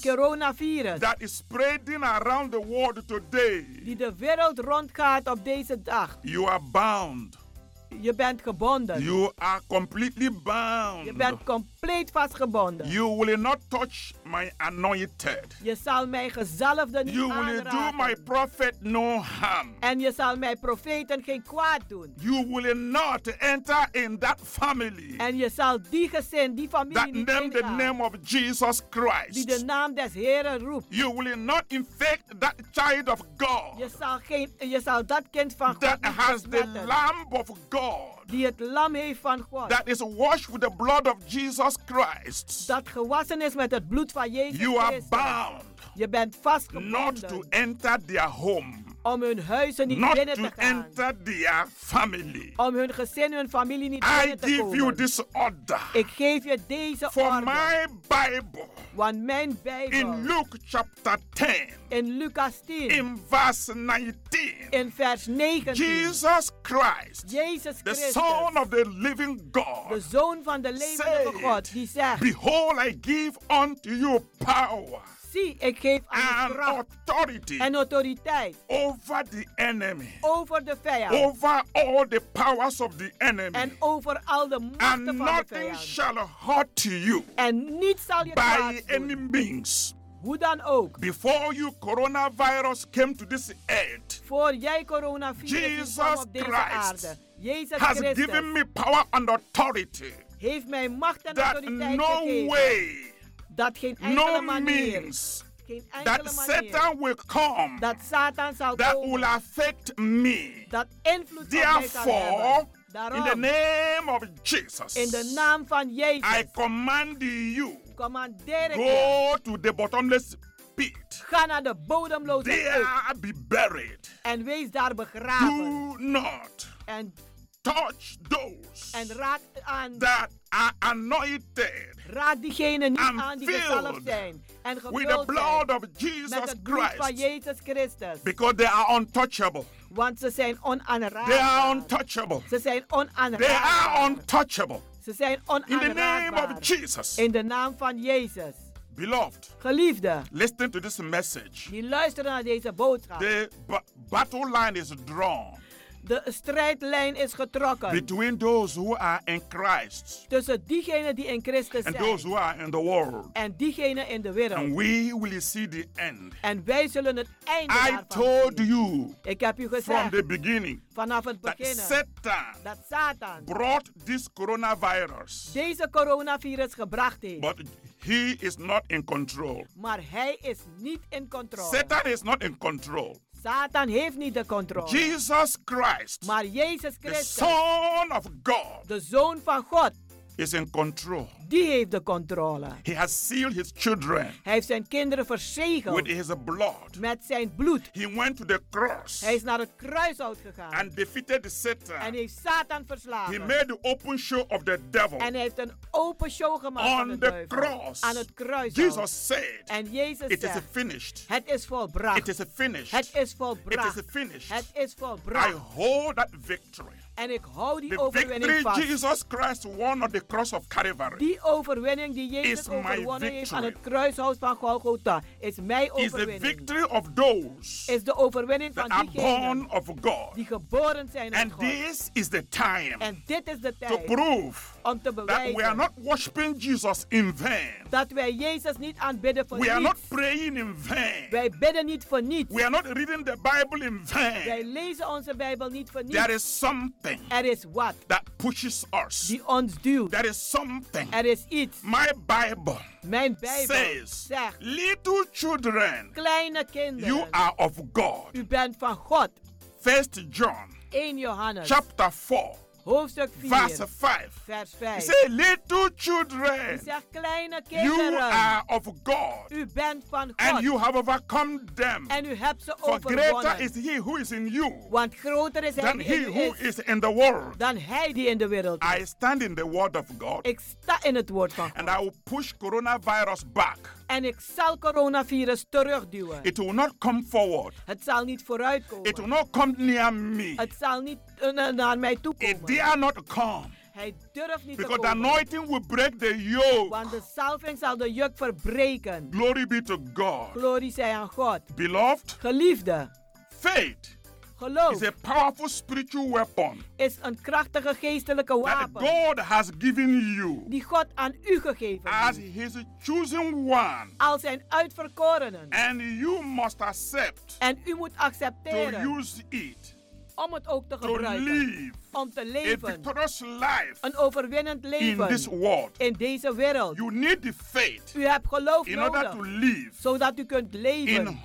Speaker 9: coronavirus
Speaker 7: that is spreading around the world today,
Speaker 9: die de wereld rondgaat op deze dag.
Speaker 7: you are bound.
Speaker 9: Je bent gebonden.
Speaker 7: You are completely bound.
Speaker 9: Je bent compleet vastgebonden.
Speaker 7: You will not touch my anointed.
Speaker 9: Je zal mijn gezalfde niet
Speaker 7: You will do
Speaker 9: aanraken.
Speaker 7: my prophet no harm.
Speaker 9: En je zal mijn profeten geen kwaad doen.
Speaker 7: You will not enter in that family
Speaker 9: En je zal die gezin, die
Speaker 7: that
Speaker 9: familie niet
Speaker 7: name the
Speaker 9: ingaan
Speaker 7: name of Jesus
Speaker 9: die
Speaker 7: Christ.
Speaker 9: de naam des Heren roept.
Speaker 7: You will not infect that child of God
Speaker 9: Je zal, geen, je zal dat kind van God
Speaker 7: that
Speaker 9: niet
Speaker 7: has the
Speaker 9: besmetten,
Speaker 7: Lamb of God
Speaker 9: die het lam heeft van God,
Speaker 7: that is washed with the blood of Jesus Christ.
Speaker 9: dat gewassen is met het bloed van Jezus
Speaker 7: You are
Speaker 9: Christus.
Speaker 7: bound
Speaker 9: Je bent
Speaker 7: not
Speaker 9: vastgebonden
Speaker 7: to enter their home.
Speaker 9: om hun huizen niet
Speaker 4: not
Speaker 9: binnen te
Speaker 4: to
Speaker 9: gaan,
Speaker 4: enter their family.
Speaker 9: om hun gezin, hun familie niet
Speaker 4: I
Speaker 9: binnen te
Speaker 4: give
Speaker 9: komen.
Speaker 4: you this order.
Speaker 9: Ik geef je deze
Speaker 4: For
Speaker 9: orde.
Speaker 4: my Bible,
Speaker 9: Want mijn Bijbel.
Speaker 4: in Luke chapter 10,
Speaker 9: in Lucas 10.
Speaker 4: In verse 19.
Speaker 9: In vers 19.
Speaker 4: Jesus Christ.
Speaker 9: Jezus
Speaker 4: the
Speaker 9: Christus.
Speaker 4: Son of the living God.
Speaker 9: de zoon van de levende
Speaker 4: said,
Speaker 9: God. Die zegt.
Speaker 4: Behold, I give unto you power
Speaker 9: Zie, ik geef aan
Speaker 4: and
Speaker 9: je kracht
Speaker 4: authority
Speaker 9: en autoriteit
Speaker 4: over the enemy,
Speaker 9: over de vijand.
Speaker 4: over all the powers of the enemy,
Speaker 9: en over al de
Speaker 4: and
Speaker 9: machten van de
Speaker 4: nothing
Speaker 9: vijand.
Speaker 4: shall hurt you
Speaker 9: En niets zal je
Speaker 4: by
Speaker 9: kwaad
Speaker 4: any
Speaker 9: doen.
Speaker 4: means.
Speaker 9: Hoe dan ook.
Speaker 4: Before you coronavirus came to this earth,
Speaker 9: Voor jij coronavirus kwam
Speaker 4: Jesus
Speaker 9: op deze
Speaker 4: Christ
Speaker 9: aarde. Jezus
Speaker 4: has
Speaker 9: Christus
Speaker 4: given me power and authority
Speaker 9: heeft mij macht en
Speaker 4: that
Speaker 9: autoriteit
Speaker 4: no
Speaker 9: gegeven.
Speaker 4: way,
Speaker 9: dat geen enkele
Speaker 4: no
Speaker 9: manier,
Speaker 4: means
Speaker 9: geen enkele
Speaker 4: that
Speaker 9: manier,
Speaker 4: Satan will come
Speaker 9: dat Satan zal
Speaker 4: that
Speaker 9: komen,
Speaker 4: will affect me.
Speaker 9: dat invloed op mij zal
Speaker 4: Therefore,
Speaker 9: hebben.
Speaker 4: in the
Speaker 9: Daarom,
Speaker 4: name of Jesus,
Speaker 9: in de naam van Jezus,
Speaker 4: I command you
Speaker 9: commandeer ik je,
Speaker 4: go to the bottomless pit.
Speaker 9: ga naar de bodemloze
Speaker 4: There
Speaker 9: put
Speaker 4: be buried.
Speaker 9: en wees daar begraven.
Speaker 4: Do not
Speaker 9: En,
Speaker 4: touch those
Speaker 9: en raak aan,
Speaker 4: that are anointed
Speaker 9: raak diegenen niet
Speaker 4: I'm
Speaker 9: aan die gezalfd
Speaker 4: filled
Speaker 9: zijn en
Speaker 4: with the
Speaker 9: gevuld
Speaker 4: blood
Speaker 9: zijn
Speaker 4: of
Speaker 9: met
Speaker 4: Jesus
Speaker 9: het bloed van
Speaker 4: Christ
Speaker 9: Jezus Christus.
Speaker 4: because they are untouchable.
Speaker 9: Want ze zijn
Speaker 4: They are
Speaker 9: onaanraakbaar.
Speaker 4: untouchable.
Speaker 9: Ze zijn
Speaker 4: They are
Speaker 9: onaanraakbaar.
Speaker 4: untouchable.
Speaker 9: Ze zijn
Speaker 4: In the name
Speaker 9: onaanraakbaar.
Speaker 4: of Jesus.
Speaker 9: In de naam van Jezus.
Speaker 4: Beloved,
Speaker 9: Geliefde,
Speaker 4: listen to this message.
Speaker 9: die luisteren naar deze boodschap.
Speaker 4: The ba- battle line is drawn
Speaker 9: De strijdlijn is getrokken
Speaker 4: between those who are in Christ
Speaker 9: tussen diegenen die in Christus
Speaker 4: and
Speaker 9: zijn
Speaker 4: those who are in the world.
Speaker 9: en diegenen in de wereld.
Speaker 4: And we will see the end.
Speaker 9: En wij zullen het einde
Speaker 4: I
Speaker 9: daarvan
Speaker 4: told you
Speaker 9: Ik heb u
Speaker 4: from
Speaker 9: gezegd
Speaker 4: the beginning
Speaker 9: vanaf het
Speaker 4: that
Speaker 9: begin
Speaker 4: Satan
Speaker 9: dat Satan
Speaker 4: brought this coronavirus,
Speaker 9: deze coronavirus gebracht heeft.
Speaker 4: but he is not in control.
Speaker 9: Maar hij is niet in controle.
Speaker 4: Satan is not in control.
Speaker 9: Satan heeft niet de controle.
Speaker 4: Jesus Christ,
Speaker 9: Maar Jezus
Speaker 4: the
Speaker 9: Christus,
Speaker 4: Son of God,
Speaker 9: de Zoon van God,
Speaker 4: is in control.
Speaker 9: die heeft de controle.
Speaker 4: He has sealed his children
Speaker 9: Hij heeft zijn kinderen
Speaker 4: with
Speaker 9: verzegeld
Speaker 4: his blood.
Speaker 9: met zijn bloed.
Speaker 4: He went to the cross
Speaker 9: Hij is naar het kruishout gegaan
Speaker 4: and defeated
Speaker 9: en
Speaker 4: Satan.
Speaker 9: heeft Satan
Speaker 4: He
Speaker 9: verslagen.
Speaker 4: made the open show of the devil.
Speaker 9: En hij heeft een open show gemaakt van de
Speaker 4: On the
Speaker 9: duivel.
Speaker 4: cross,
Speaker 9: aan het
Speaker 4: Jesus
Speaker 9: kruishout.
Speaker 4: said,
Speaker 9: En Jezus
Speaker 4: It is
Speaker 9: zegt,
Speaker 4: finished.
Speaker 9: het is
Speaker 4: It
Speaker 9: volbracht.
Speaker 4: is finished.
Speaker 9: Het is
Speaker 4: It
Speaker 9: volbracht.
Speaker 4: is finished.
Speaker 9: Het is
Speaker 4: I
Speaker 9: volbracht.
Speaker 4: hold that victory.
Speaker 9: En ik hou die
Speaker 4: The
Speaker 9: overwinning
Speaker 4: victory
Speaker 9: vast.
Speaker 4: Jesus Christ won on the cross of Calvary
Speaker 9: Die overwinning die Jezus
Speaker 4: Is my
Speaker 9: overwonnen heeft aan het
Speaker 4: victory.
Speaker 9: kruishout van Golgotha is mijn
Speaker 4: is the
Speaker 9: overwinning.
Speaker 4: victory of those
Speaker 9: Is de overwinning
Speaker 4: that
Speaker 9: van
Speaker 4: are
Speaker 9: diegenen
Speaker 4: born of God.
Speaker 9: die geboren zijn uit
Speaker 4: And
Speaker 9: God.
Speaker 4: this is the time
Speaker 9: En dit is de
Speaker 4: to
Speaker 9: tijd
Speaker 4: prove
Speaker 9: om te
Speaker 4: that we are
Speaker 9: bewijzen
Speaker 4: not worshiping Jesus in vain.
Speaker 9: dat wij Jezus niet aanbidden voor
Speaker 4: We are not
Speaker 9: niets.
Speaker 4: praying in vain.
Speaker 9: Wij bidden niet voor niets.
Speaker 4: We are not reading the Bible in vain.
Speaker 9: Wij lezen onze Bijbel niet voor niets.
Speaker 4: There is something
Speaker 9: er is wat
Speaker 4: that pushes us.
Speaker 9: die ons duwt.
Speaker 4: There is something.
Speaker 9: Er is iets.
Speaker 4: My Bible
Speaker 9: Mijn Bijbel
Speaker 4: says,
Speaker 9: zegt,
Speaker 4: little children,
Speaker 9: kleine kinderen,
Speaker 4: you are of God.
Speaker 9: u bent van God.
Speaker 4: First John
Speaker 9: 1 Johannes,
Speaker 4: chapter 4,
Speaker 9: hoofdstuk 4,
Speaker 4: verse 5.
Speaker 9: vers
Speaker 4: He
Speaker 9: 5.
Speaker 4: said, little
Speaker 9: Hij
Speaker 4: children,
Speaker 9: zegt, kleine
Speaker 4: you
Speaker 9: kinderen,
Speaker 4: are of God,
Speaker 9: u bent van God.
Speaker 4: and you have overcome them.
Speaker 9: en u hebt ze
Speaker 4: For greater
Speaker 9: overwonnen.
Speaker 4: is he who is in you
Speaker 9: want groter is hij
Speaker 4: than
Speaker 9: die
Speaker 4: he
Speaker 9: in u
Speaker 4: who
Speaker 9: is
Speaker 4: is in the world.
Speaker 9: dan hij die in de wereld is.
Speaker 4: I stand in the word of God
Speaker 9: Ik sta in het woord van God.
Speaker 4: and I will push coronavirus back.
Speaker 9: En ik zal coronavirus terugduwen.
Speaker 4: It will not come forward.
Speaker 9: het zal niet vooruitkomen.
Speaker 4: It will not come near me.
Speaker 9: het zal niet eh, na- naar mij toe
Speaker 4: It
Speaker 9: komen.
Speaker 4: dare not come
Speaker 9: Hij durft niet
Speaker 4: because
Speaker 9: te
Speaker 4: the
Speaker 9: komen.
Speaker 4: anointing will break the yoke.
Speaker 9: Want de salving zal de juk verbreken.
Speaker 4: Glory be to God.
Speaker 9: Glorie zij aan God.
Speaker 4: Beloved,
Speaker 9: Geliefde,
Speaker 4: faith
Speaker 9: geloof
Speaker 4: is a powerful spiritual weapon
Speaker 9: is een krachtige geestelijke
Speaker 4: that
Speaker 9: wapen
Speaker 4: God has given you
Speaker 9: die God aan u gegeven
Speaker 4: as
Speaker 9: heeft.
Speaker 4: his chosen one.
Speaker 9: Al zijn uitverkorenen.
Speaker 4: And you must accept
Speaker 9: En u moet
Speaker 4: to
Speaker 9: accepteren
Speaker 4: use it
Speaker 9: om het ook te
Speaker 4: to live
Speaker 9: gebruiken. Om te
Speaker 4: a
Speaker 9: leven.
Speaker 4: victorious life
Speaker 9: Een overwinnend
Speaker 4: in
Speaker 9: leven.
Speaker 4: this world.
Speaker 9: in deze wereld.
Speaker 4: You need the faith
Speaker 9: U hebt geloof
Speaker 4: in order to
Speaker 9: nodig,
Speaker 4: live
Speaker 9: zodat u kunt
Speaker 4: in
Speaker 9: leven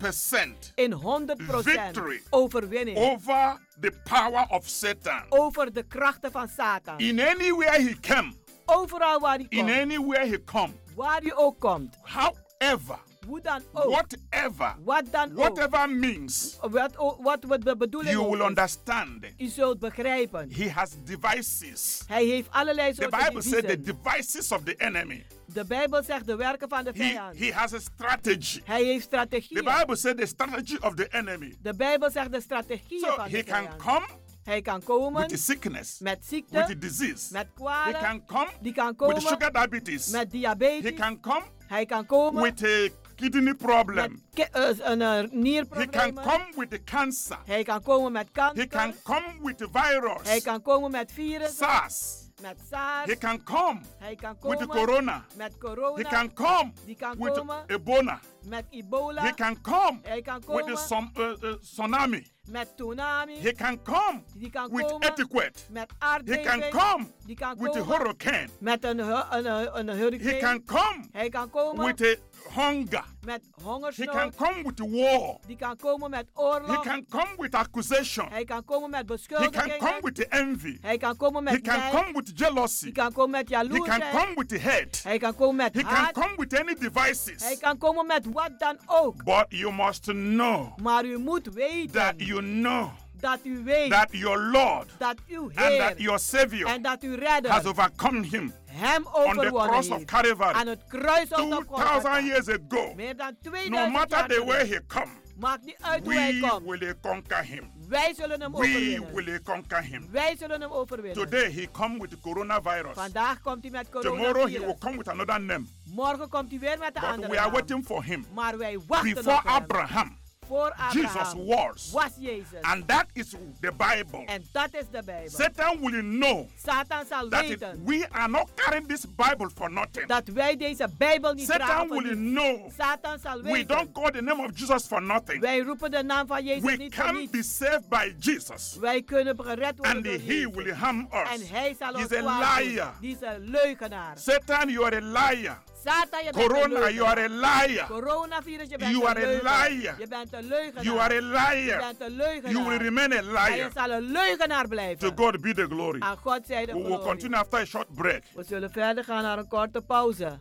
Speaker 4: 100%
Speaker 9: in 100%
Speaker 4: victory
Speaker 9: overwinning
Speaker 4: over the power of Satan.
Speaker 9: over de krachten van Satan.
Speaker 4: In anywhere he came,
Speaker 9: Overal waar u
Speaker 4: in
Speaker 9: komt,
Speaker 4: anywhere he come.
Speaker 9: waar u ook komt.
Speaker 4: However,
Speaker 11: Hoe dan ook.
Speaker 7: Whatever.
Speaker 11: Wat dan
Speaker 7: Whatever means.
Speaker 11: ook. Wat, o- wat oh, we de bedoeling
Speaker 7: You
Speaker 11: ook
Speaker 7: will
Speaker 11: is.
Speaker 7: understand.
Speaker 11: U zult begrijpen.
Speaker 7: He has devices.
Speaker 11: Hij heeft allerlei
Speaker 7: The
Speaker 11: soorten
Speaker 7: Bible said the
Speaker 11: deviezen.
Speaker 7: devices of the enemy.
Speaker 11: De Bijbel zegt de werken van de
Speaker 7: He,
Speaker 11: vijand.
Speaker 7: he has a strategy.
Speaker 11: Hij heeft strategieën.
Speaker 7: The Bible said the strategy of the enemy
Speaker 11: De Bijbel zegt de strategieën
Speaker 7: So
Speaker 11: van de
Speaker 7: he can
Speaker 11: vijand.
Speaker 7: come
Speaker 11: Hij kan komen
Speaker 7: with the sickness,
Speaker 11: met ziekte,
Speaker 7: with the disease.
Speaker 11: met kwalen.
Speaker 7: He can come
Speaker 11: die kan komen
Speaker 7: with sugar diabetes.
Speaker 11: met diabetes.
Speaker 7: He can come
Speaker 11: Hij kan komen
Speaker 7: with a kidney problem.
Speaker 11: Ke- eh, een eh, nierproblemen.
Speaker 7: He can come with the cancer.
Speaker 11: Hij kan komen met kanker.
Speaker 7: He can come with the virus.
Speaker 11: Hij kan komen met virus.
Speaker 7: SARS.
Speaker 11: Met SARS.
Speaker 7: He can come
Speaker 11: Hij kan
Speaker 7: with the
Speaker 11: komen
Speaker 7: corona.
Speaker 11: Met corona.
Speaker 7: He can come
Speaker 11: Die kan
Speaker 7: with
Speaker 11: komen
Speaker 7: Ebola.
Speaker 11: met Ebola.
Speaker 7: He can come
Speaker 11: Hij kan
Speaker 7: with
Speaker 11: komen
Speaker 7: the some, uh, uh, tsunami.
Speaker 11: met tsunami.
Speaker 7: He can come
Speaker 11: Die kan
Speaker 7: with
Speaker 11: komen
Speaker 7: earthquake.
Speaker 11: met
Speaker 7: He
Speaker 11: aardbeving.
Speaker 7: can come
Speaker 11: Die kan
Speaker 7: with a
Speaker 11: komen
Speaker 7: hurricane.
Speaker 11: met een, hu- een, een, een hurricane.
Speaker 7: He can come
Speaker 11: Hij kan komen
Speaker 7: with a hunger.
Speaker 11: met
Speaker 7: He
Speaker 11: hongersnood.
Speaker 7: can come with war.
Speaker 11: Die kan komen met oorlog.
Speaker 7: He can come with accusation.
Speaker 11: Hij kan komen met
Speaker 7: He can
Speaker 11: beschuldigingen.
Speaker 7: come with envy.
Speaker 11: Hij kan komen met
Speaker 7: He can
Speaker 11: nijd.
Speaker 7: come with jealousy.
Speaker 11: Die kan komen met
Speaker 7: He
Speaker 11: jaloersheid.
Speaker 7: can come with hate.
Speaker 11: Hij kan komen met
Speaker 7: He can
Speaker 11: haat.
Speaker 7: come with any devices.
Speaker 11: Hij kan komen met wat dan ook.
Speaker 7: But you must know
Speaker 11: Maar u moet weten
Speaker 7: that you know
Speaker 11: dat u weet
Speaker 7: that your Lord
Speaker 11: dat uw
Speaker 7: and
Speaker 11: Heer
Speaker 7: that your Savior
Speaker 11: en dat uw Redder
Speaker 7: has overcome him
Speaker 11: hem
Speaker 7: on the
Speaker 11: overwonnen
Speaker 7: cross of
Speaker 11: heeft.
Speaker 7: Calvary.
Speaker 11: Aan het kruis op de Golgotha.
Speaker 7: 2,000 years ago,
Speaker 11: Meer dan
Speaker 7: no
Speaker 11: 2000
Speaker 7: matter
Speaker 11: jaar
Speaker 7: the way
Speaker 11: terug.
Speaker 7: he come,
Speaker 11: Maakt niet uit hoe hij
Speaker 7: we
Speaker 11: komt.
Speaker 7: will conquer him.
Speaker 11: Wij zullen hem
Speaker 7: We
Speaker 11: overwinnen.
Speaker 7: will conquer him.
Speaker 11: Wij zullen hem overwinnen.
Speaker 7: Today he come with coronavirus.
Speaker 11: Vandaag komt hij met
Speaker 7: Tomorrow he will
Speaker 11: coronavirus.
Speaker 7: come with another
Speaker 4: um,
Speaker 7: name.
Speaker 11: Morgen komt hij weer met een
Speaker 7: But
Speaker 11: andere
Speaker 7: we are
Speaker 11: naam.
Speaker 7: waiting for him.
Speaker 11: Maar wij wachten
Speaker 7: Before
Speaker 11: op hem.
Speaker 7: Abraham,
Speaker 11: Voor Abraham
Speaker 7: Jesus was.
Speaker 11: was Jezus.
Speaker 7: and that is the Bible.
Speaker 11: en dat is de Bijbel.
Speaker 7: Satan will know
Speaker 11: Satan zal
Speaker 7: that it-
Speaker 11: weten
Speaker 7: we are not carrying this Bible for nothing.
Speaker 11: dat wij deze Bijbel niet
Speaker 7: Satan
Speaker 11: dragen. voor
Speaker 7: will
Speaker 11: niets.
Speaker 7: know
Speaker 11: Satan zal
Speaker 7: we
Speaker 11: weten.
Speaker 7: don't call the name of Jesus for nothing.
Speaker 11: Wij roepen de naam van Jezus
Speaker 7: We
Speaker 11: niet voor
Speaker 7: can
Speaker 11: niets.
Speaker 7: be saved by Jesus.
Speaker 11: Wij kunnen gered worden
Speaker 7: And
Speaker 11: door
Speaker 7: he
Speaker 11: Jezus.
Speaker 7: will harm us.
Speaker 11: En hij zal
Speaker 7: He's
Speaker 11: ons
Speaker 7: a
Speaker 11: kwaad doen.
Speaker 7: liar.
Speaker 11: Die is een leugenaar.
Speaker 7: Satan, you are a liar.
Speaker 11: Satan, je bent een
Speaker 7: Corona,
Speaker 11: leugenaar.
Speaker 7: you are a liar.
Speaker 11: Coronavirus, je bent
Speaker 7: You
Speaker 11: een
Speaker 7: are a
Speaker 11: leugenaar.
Speaker 7: liar.
Speaker 11: Je bent een leugenaar.
Speaker 7: You are a
Speaker 11: Je
Speaker 7: liar.
Speaker 11: bent een leugenaar.
Speaker 7: You will remain a
Speaker 11: En je
Speaker 7: liar.
Speaker 11: zal een leugenaar blijven.
Speaker 7: To God be the glory.
Speaker 11: Aan God zij de
Speaker 7: We will
Speaker 11: glorie.
Speaker 7: continue after a short break.
Speaker 11: We zullen verder gaan naar een korte pauze.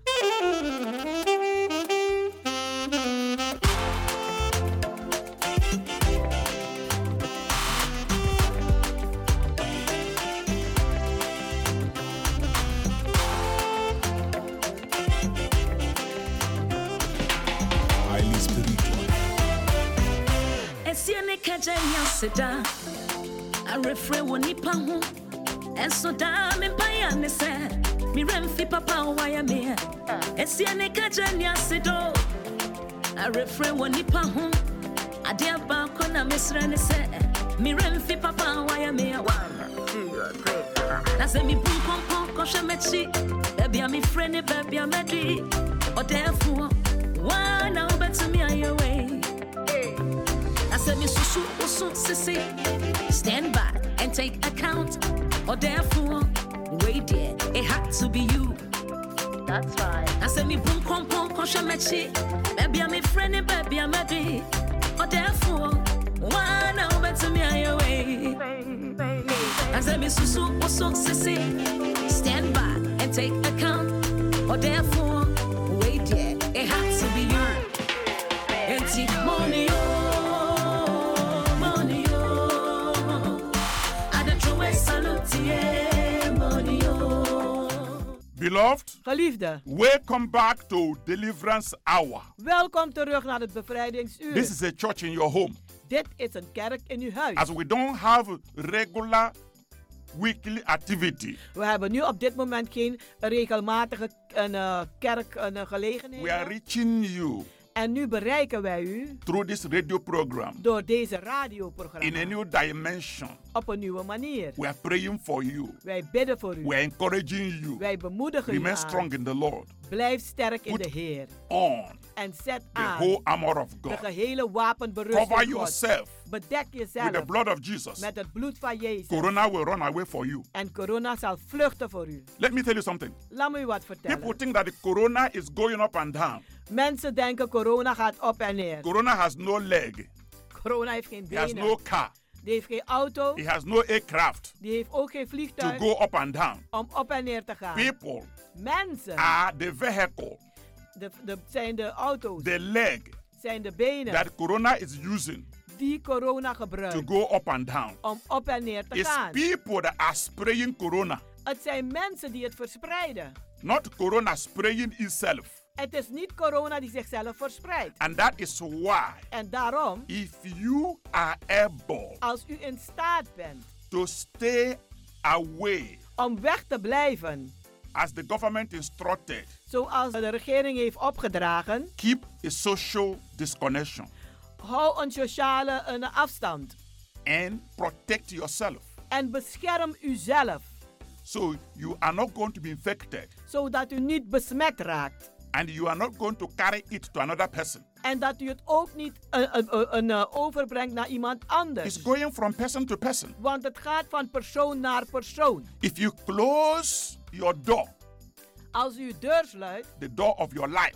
Speaker 9: ɛsiɛ ne kagya nyanse da awerɛfrɛ wɔ nipa ho ɛnso daa mempaeɛ ne sɛ merɛ mfi papa a wayɛ meɛ ɛsiɛ ne kagya nyanse do awerɛfrɛ wɔ nipa ho adeɛ baako na mesrɛ ne sɛ merɛ mfi papa a wayɛ meɛ wa na sɛ mebu nkɔnkɔn kɔhwɛ m'akyi baabi a mefrɛ ne baabi a mɛde ɔdɛɛfoɔ waa na wobɛtumi ayɛ wei Asemi susu usu sisi. Stand by and take account. Or therefore, wait there. It had to be you. That's right. Asemi boom kom kom koshamechi. Baby I'm a friend and baby I'm a D. Or therefore, why now better me on your way? Asemi susu usu sisi. Stand by and take account. Or therefore, wait there. It had to be you. Enti money oh, money oh. Ada trowe salute yeah, money oh.
Speaker 7: Beloved,
Speaker 11: Geliefde,
Speaker 7: welcome back to Deliverance Hour.
Speaker 11: welkom terug naar het bevrijdingsuur.
Speaker 7: This is a church in your home.
Speaker 11: Dit is een kerk in uw huis.
Speaker 7: As we don't have regular weekly activity,
Speaker 11: We hebben nu op dit moment geen regelmatige een, eh, kerk een, eh, gelegenheid.
Speaker 7: we are reaching you
Speaker 11: En nu bereiken wij u
Speaker 7: through this radio program
Speaker 11: door deze radioprogramma
Speaker 7: in a new dimension.
Speaker 11: op een nieuwe manier.
Speaker 7: We are praying for you.
Speaker 11: Wij bidden voor u.
Speaker 7: We are encouraging you.
Speaker 11: Wij bemoedigen u
Speaker 7: Remain
Speaker 11: aan.
Speaker 7: strong in the Lord.
Speaker 11: Blijf sterk in de Heer.
Speaker 7: On
Speaker 11: En zet
Speaker 7: the
Speaker 11: aan
Speaker 7: whole armor of
Speaker 11: de
Speaker 7: God.
Speaker 11: gehele wapenberusting
Speaker 7: Cover
Speaker 11: God.
Speaker 7: yourself
Speaker 11: Bedek jezelf
Speaker 7: with the blood of Jesus.
Speaker 11: met het bloed van Jezus.
Speaker 7: Corona will run away for you.
Speaker 11: En corona zal vluchten voor u.
Speaker 7: Let me tell you something.
Speaker 11: Laat me u wat vertellen.
Speaker 7: People think that the corona is going up and down.
Speaker 11: Mensen denken corona gaat op en neer.
Speaker 7: Corona has no leg.
Speaker 11: Corona heeft geen
Speaker 7: He has
Speaker 11: benen.
Speaker 7: no car.
Speaker 11: Die heeft geen auto.
Speaker 7: He has no aircraft
Speaker 11: Die heeft ook geen
Speaker 7: to
Speaker 11: vliegtuig
Speaker 7: go up and down.
Speaker 11: om op en neer te gaan.
Speaker 7: People
Speaker 11: Mensen
Speaker 7: are the vehicle
Speaker 9: de, de, zijn de auto's,
Speaker 7: the leg
Speaker 9: zijn de benen
Speaker 7: that corona is using
Speaker 9: die corona
Speaker 7: to
Speaker 9: gebruikt
Speaker 7: go up and down
Speaker 9: om op en neer te
Speaker 7: is
Speaker 9: gaan.
Speaker 7: people that are spraying corona,
Speaker 9: Het zijn mensen die het verspreiden.
Speaker 7: not corona spraying itself.
Speaker 9: Het is niet corona die zichzelf verspreidt.
Speaker 7: And that is why,
Speaker 9: En daarom,
Speaker 7: if you are able
Speaker 9: als u in staat bent
Speaker 7: to stay away,
Speaker 9: om weg te blijven,
Speaker 7: as the government instructed,
Speaker 9: zoals de regering heeft opgedragen,
Speaker 7: keep a social disconnection
Speaker 9: hou een sociale een afstand
Speaker 7: and protect yourself.
Speaker 9: en bescherm uzelf,
Speaker 7: So you are not going to be infected
Speaker 9: zodat u niet besmet raakt
Speaker 7: and you are not going to carry it to another person.
Speaker 9: en dat u het ook niet eh, eh, eh, eh, eh, overbrengt naar iemand anders.
Speaker 7: It's going from person to person.
Speaker 9: Want het gaat van persoon naar persoon.
Speaker 7: If you close your door,
Speaker 9: Als u uw deur sluit,
Speaker 7: the door of your life,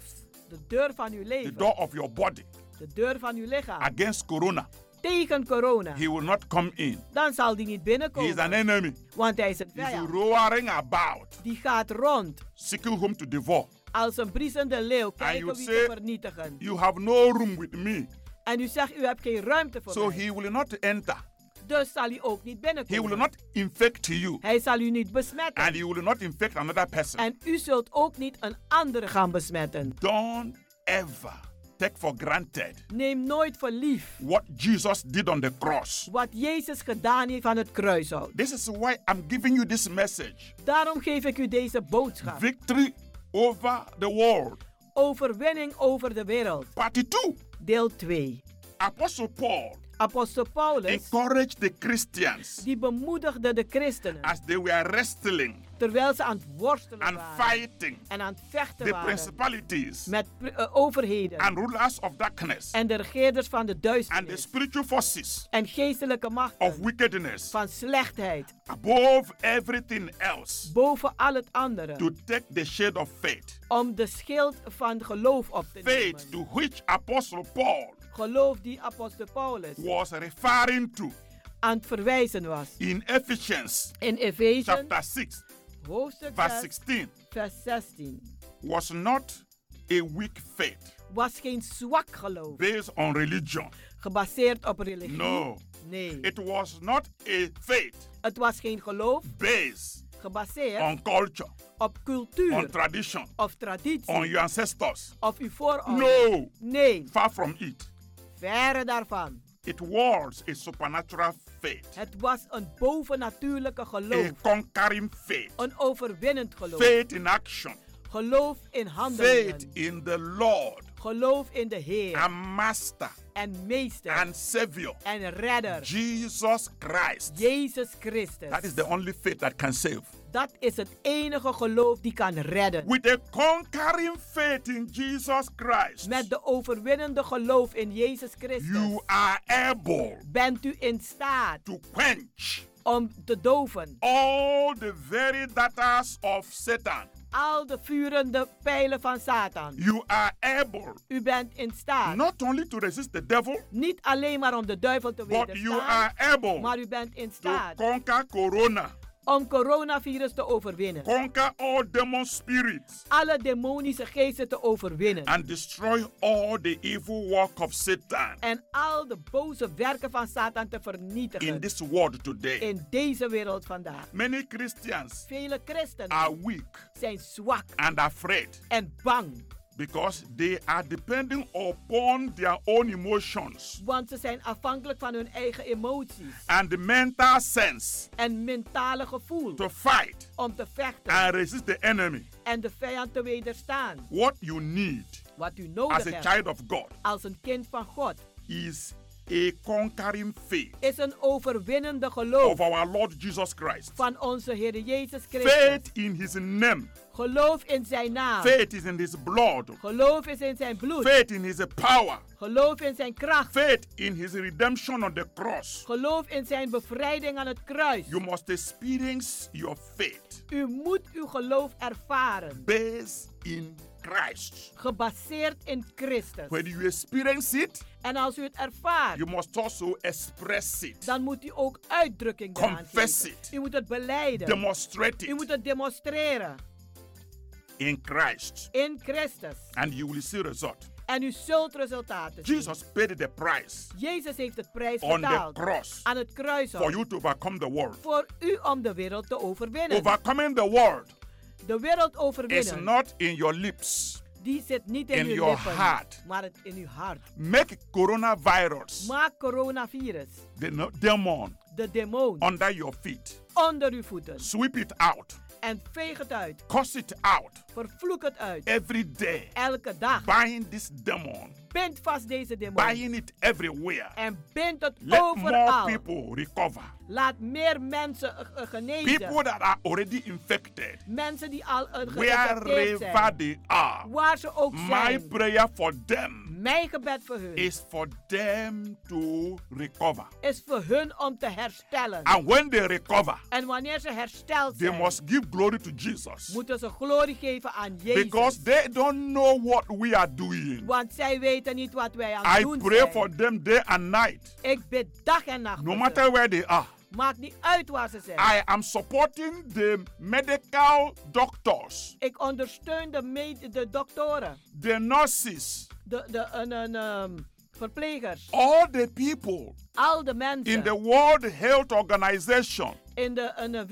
Speaker 9: de deur van uw
Speaker 7: the
Speaker 9: leven,
Speaker 7: door of your body
Speaker 9: de deur van uw lichaam,
Speaker 7: against corona,
Speaker 9: tegen corona,
Speaker 7: he will not come in.
Speaker 9: dan zal die niet
Speaker 7: He is
Speaker 9: binnenkomen.
Speaker 7: an enemy.
Speaker 9: Want hij is een
Speaker 7: He's
Speaker 9: vijand.
Speaker 7: roaring about,
Speaker 9: Die gaat rond
Speaker 7: seeking whom to devour.
Speaker 9: als een briesende leeuw
Speaker 7: you
Speaker 9: kijken wie te
Speaker 7: say,
Speaker 9: vernietigen.
Speaker 7: You have no room with me.
Speaker 9: En u zegt, u hebt geen ruimte voor
Speaker 7: So
Speaker 9: mij.
Speaker 7: he will not enter.
Speaker 9: Dus zal u ook niet
Speaker 7: He
Speaker 9: binnenkomen.
Speaker 7: will not infect you.
Speaker 9: Hij zal u niet besmetten.
Speaker 7: And you will not infect another person.
Speaker 9: En u zult ook niet een andere gaan besmetten.
Speaker 7: Don't ever take for granted
Speaker 9: Neem nooit voor lief
Speaker 7: what Jesus did on the cross.
Speaker 9: wat Jezus gedaan heeft aan het kruishout.
Speaker 7: This is why I'm giving you this message
Speaker 9: Daarom geef ik u deze boodschap.
Speaker 7: victory over the world.
Speaker 9: Overwinning over de wereld.
Speaker 7: Part 2.
Speaker 9: Deel 2.
Speaker 7: Apostle Paul
Speaker 9: Apostel Paulus,
Speaker 7: encouraged the Christians
Speaker 9: die bemoedigde de christenen
Speaker 7: as they were wrestling
Speaker 9: terwijl ze aan het worstelen
Speaker 7: and
Speaker 9: waren
Speaker 7: fighting
Speaker 9: en aan het vechten
Speaker 7: the
Speaker 9: waren
Speaker 7: principalities
Speaker 9: met pr- eh, overheden
Speaker 7: and rulers of darkness
Speaker 9: en de regeerders van de
Speaker 7: and the
Speaker 9: duisternis
Speaker 7: spiritual forces
Speaker 9: en geestelijke
Speaker 7: of
Speaker 9: machten
Speaker 7: wickedness
Speaker 9: van slechtheid
Speaker 7: above everything else
Speaker 9: boven al het
Speaker 7: to
Speaker 9: andere
Speaker 7: take the shade of faith.
Speaker 9: om de schild van geloof op te
Speaker 7: Faith
Speaker 9: nemen.
Speaker 7: to which Apostle Paul
Speaker 9: Geloof die apostel Paulus
Speaker 7: was referring to
Speaker 9: aan het verwijzen was.
Speaker 7: in Ephesians
Speaker 9: In Efeze
Speaker 7: chapter 6,
Speaker 9: hoofdstuk
Speaker 7: verse
Speaker 9: 6,
Speaker 7: 16
Speaker 9: vers 16
Speaker 7: was not a weak faith
Speaker 9: was geen zwak geloof
Speaker 7: based on religion.
Speaker 9: gebaseerd op religie.
Speaker 7: No,
Speaker 9: Nee,
Speaker 7: it was not a faith
Speaker 9: het was geen geloof
Speaker 7: based
Speaker 9: gebaseerd
Speaker 7: on culture,
Speaker 9: op
Speaker 7: on
Speaker 9: cultuur
Speaker 7: tradition,
Speaker 9: of traditie
Speaker 7: on your ancestors.
Speaker 9: of uw voorouders.
Speaker 7: No,
Speaker 9: Nee,
Speaker 7: far from E. it.
Speaker 9: verre daarvan.
Speaker 7: It was a supernatural faith,
Speaker 9: Het was een bovennatuurlijke
Speaker 7: a
Speaker 9: geloof.
Speaker 7: conquering faith,
Speaker 9: Een overwinnend geloof.
Speaker 7: faith in action,
Speaker 9: Geloof in
Speaker 7: faith
Speaker 9: handelingen.
Speaker 7: in the Lord
Speaker 9: Geloof in de Heer
Speaker 7: and Master
Speaker 9: en Meester
Speaker 7: and Savior,
Speaker 9: en Redder.
Speaker 7: Jesus Christ.
Speaker 9: Jezus Christus.
Speaker 7: That is the only faith that can save.
Speaker 9: Dat is het enige geloof die kan redden.
Speaker 7: With a conquering faith in Jesus Christ,
Speaker 9: Met de overwinnende geloof in Jezus Christus
Speaker 7: you are able
Speaker 9: bent u in staat
Speaker 7: to quench
Speaker 9: om te doven
Speaker 7: all the very datas of Satan.
Speaker 9: al de vurende pijlen van Satan.
Speaker 7: You are able
Speaker 9: U bent in staat
Speaker 7: not only to resist the devil,
Speaker 9: niet alleen maar om de duivel te
Speaker 7: but you
Speaker 9: wederstaan,
Speaker 7: are able
Speaker 9: maar u bent in
Speaker 7: to
Speaker 9: staat
Speaker 7: conquer corona,
Speaker 9: om coronavirus te overwinnen.
Speaker 7: conquer all demon spirits,
Speaker 9: Alle demonische geesten te overwinnen.
Speaker 7: and destroy all the evil work of Satan
Speaker 9: En al de boze werken van Satan te
Speaker 7: in
Speaker 9: vernietigen.
Speaker 7: this world today.
Speaker 9: In deze wereld vandaag.
Speaker 7: Many Christians
Speaker 9: Vele
Speaker 7: are
Speaker 9: christenen
Speaker 7: weak
Speaker 9: zijn zwak
Speaker 7: and afraid
Speaker 9: en bang.
Speaker 7: because they are depending upon their own emotions
Speaker 9: Want ze zijn afhankelijk van hun eigen emoties
Speaker 7: and the mental sense
Speaker 9: en mentale gevoel
Speaker 7: to fight
Speaker 9: om te vechten
Speaker 7: and resist the enemy.
Speaker 9: en de vijand te wederstaan.
Speaker 7: What you need
Speaker 9: Wat u
Speaker 7: as
Speaker 9: nodig
Speaker 7: a
Speaker 9: hebt
Speaker 7: child of God
Speaker 9: als een kind van God
Speaker 7: is a conquering faith
Speaker 9: is een overwinnende
Speaker 7: of
Speaker 9: geloof
Speaker 7: our Lord Jesus Christ.
Speaker 9: van onze Heer Jezus Christus.
Speaker 7: Faith in his name,
Speaker 9: Geloof in zijn naam.
Speaker 7: faith is in his blood,
Speaker 9: Geloof is in zijn bloed.
Speaker 7: faith in his power,
Speaker 9: Geloof in zijn kracht.
Speaker 7: faith in his redemption on the cross.
Speaker 9: Geloof in zijn bevrijding aan het kruis.
Speaker 7: You must experience your faith
Speaker 9: U moet uw geloof ervaren,
Speaker 7: based in Christ.
Speaker 9: gebaseerd in Christus.
Speaker 7: When you experience it,
Speaker 9: En als u het ervaart,
Speaker 7: you must also express it,
Speaker 9: dan moet u ook uitdrukking eraan
Speaker 7: Confess
Speaker 9: geven.
Speaker 7: it.
Speaker 9: U moet het beleiden.
Speaker 7: demonstrate
Speaker 9: U
Speaker 7: it.
Speaker 9: moet het demonstreren.
Speaker 4: in Christ,
Speaker 9: in Christus.
Speaker 4: and you will see result.
Speaker 9: En u zult resultaten zien.
Speaker 4: Jesus paid the price
Speaker 9: Jezus heeft de prijs
Speaker 4: On the
Speaker 9: betaald
Speaker 4: cross.
Speaker 9: aan het kruis
Speaker 4: for you to overcome the world.
Speaker 9: voor u om de wereld te overwinnen.
Speaker 4: Overcoming the world
Speaker 9: de wereld
Speaker 4: is
Speaker 9: overwinnen,
Speaker 4: not in your lips.
Speaker 9: die zit niet in,
Speaker 4: in
Speaker 9: uw
Speaker 4: your
Speaker 9: lippen,
Speaker 4: heart.
Speaker 9: maar het in uw hart.
Speaker 4: Make coronavirus
Speaker 9: Maak coronavirus,
Speaker 4: the no- demon
Speaker 9: de demon,
Speaker 4: under your feet.
Speaker 9: onder uw voeten.
Speaker 4: Sweep it out.
Speaker 9: En veeg het uit.
Speaker 4: Curse it out
Speaker 9: Vervloek het uit.
Speaker 4: every day.
Speaker 9: Elke dag.
Speaker 4: Bind this demon.
Speaker 9: Bind vast deze demon.
Speaker 4: Bind it everywhere.
Speaker 9: En bind het
Speaker 4: Let more
Speaker 9: overal.
Speaker 4: people recover.
Speaker 9: Laat meer mensen eh, eh, genezen.
Speaker 4: People that are already infected,
Speaker 9: mensen die al eh, geïnfecteerd
Speaker 4: wherever
Speaker 9: zijn.
Speaker 4: they are,
Speaker 9: Waar ze ook
Speaker 4: my
Speaker 9: zijn.
Speaker 4: prayer for them
Speaker 9: Mijn gebed voor hun
Speaker 4: is for them to recover.
Speaker 9: is voor hun om te herstellen.
Speaker 4: And when they recover,
Speaker 9: En wanneer ze hersteld
Speaker 4: they
Speaker 9: zijn,
Speaker 4: must give glory to Jesus.
Speaker 9: moeten ze glorie geven aan Jezus.
Speaker 4: Because they don't know what we are doing.
Speaker 9: want zij weten niet wat wij aan het
Speaker 4: I
Speaker 9: doen
Speaker 4: pray
Speaker 9: zijn.
Speaker 4: for them day and night,
Speaker 9: Ik bid dag en nacht.
Speaker 4: no
Speaker 9: voor
Speaker 4: matter
Speaker 9: ze.
Speaker 4: where they are.
Speaker 9: Maakt niet uit waar ze zijn.
Speaker 4: I am supporting the medical doctors,
Speaker 9: Ik ondersteun de, med- de doktoren,
Speaker 4: the nurses,
Speaker 9: de, de en- en, ehm, verplegers,
Speaker 4: all the people
Speaker 9: al de mensen
Speaker 4: in the World Health Organization,
Speaker 9: in de, en de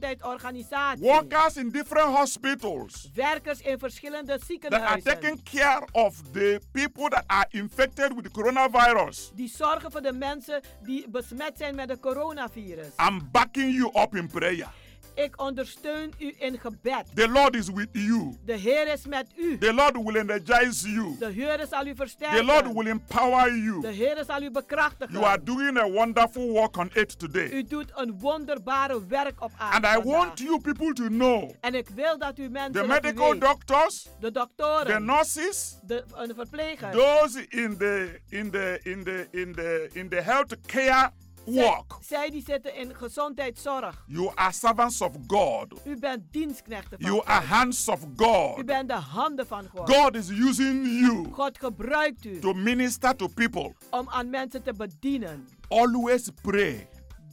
Speaker 9: Wereldgezondheidsorganisatie.
Speaker 4: workers in different hospitals
Speaker 9: Werkers in verschillende
Speaker 4: that are taking
Speaker 9: ziekenhuizen.
Speaker 4: care of the people that are infected with coronavirus.
Speaker 9: Die zorgen voor de mensen die besmet zijn met het coronavirus.
Speaker 4: I'm backing you up in prayer.
Speaker 9: Ik ondersteun u in gebed.
Speaker 4: The Lord is with you.
Speaker 9: De Heer is met u.
Speaker 4: The Lord will energize you.
Speaker 9: De Heer zal
Speaker 4: The
Speaker 9: u
Speaker 4: Lord
Speaker 9: versterken.
Speaker 4: will empower you.
Speaker 9: De Heer zal u
Speaker 4: You are
Speaker 9: bekrachtigen.
Speaker 4: doing a wonderful work on it today.
Speaker 9: U doet een wonderbare werk op aarde.
Speaker 4: And I
Speaker 9: vandaag.
Speaker 4: want you people to know
Speaker 9: En ik wil dat u mensen.
Speaker 4: the
Speaker 9: dat u
Speaker 4: medical
Speaker 9: weet,
Speaker 4: doctors,
Speaker 9: de doktoren,
Speaker 4: the nurses,
Speaker 9: de, en de verplegers,
Speaker 4: those in the in the in the in the in the healthcare
Speaker 9: zij,
Speaker 4: work.
Speaker 9: zij die zitten in gezondheidszorg.
Speaker 4: You are servants of God.
Speaker 9: U bent dienstknechten van
Speaker 4: You
Speaker 9: God.
Speaker 4: are hands of
Speaker 9: U
Speaker 4: God.
Speaker 9: bent de handen van God.
Speaker 4: God is using you
Speaker 9: God gebruikt u
Speaker 4: to minister to people.
Speaker 9: om aan mensen te bedienen.
Speaker 4: Always pray.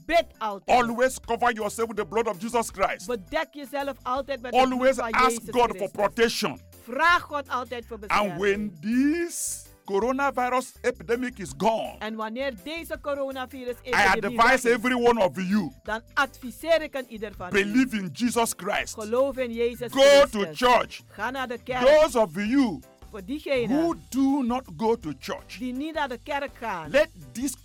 Speaker 9: Bid altijd.
Speaker 4: Always cover yourself with the blood of Jesus Christ.
Speaker 9: Bedek jezelf altijd met het bloed
Speaker 4: Always
Speaker 9: van
Speaker 4: ask
Speaker 9: Jezus
Speaker 4: God for
Speaker 9: Christus.
Speaker 4: protection.
Speaker 9: Vraag God altijd voor
Speaker 4: And
Speaker 9: bescherming.
Speaker 4: when this coronavirus epidemic is gone,
Speaker 9: En wanneer deze coronavirus
Speaker 4: I
Speaker 9: epidemie weg
Speaker 4: advise
Speaker 9: is,
Speaker 4: every one of you
Speaker 9: dan adviseer ik een ieder van u.
Speaker 4: believe in Jesus Christ.
Speaker 9: Geloof in Jezus
Speaker 4: Go
Speaker 9: Christus.
Speaker 4: to church.
Speaker 9: Ga naar de kerk.
Speaker 4: Those of you
Speaker 9: voor diegenen
Speaker 4: who do not go to church,
Speaker 9: die niet naar de kerk gaan.
Speaker 4: let this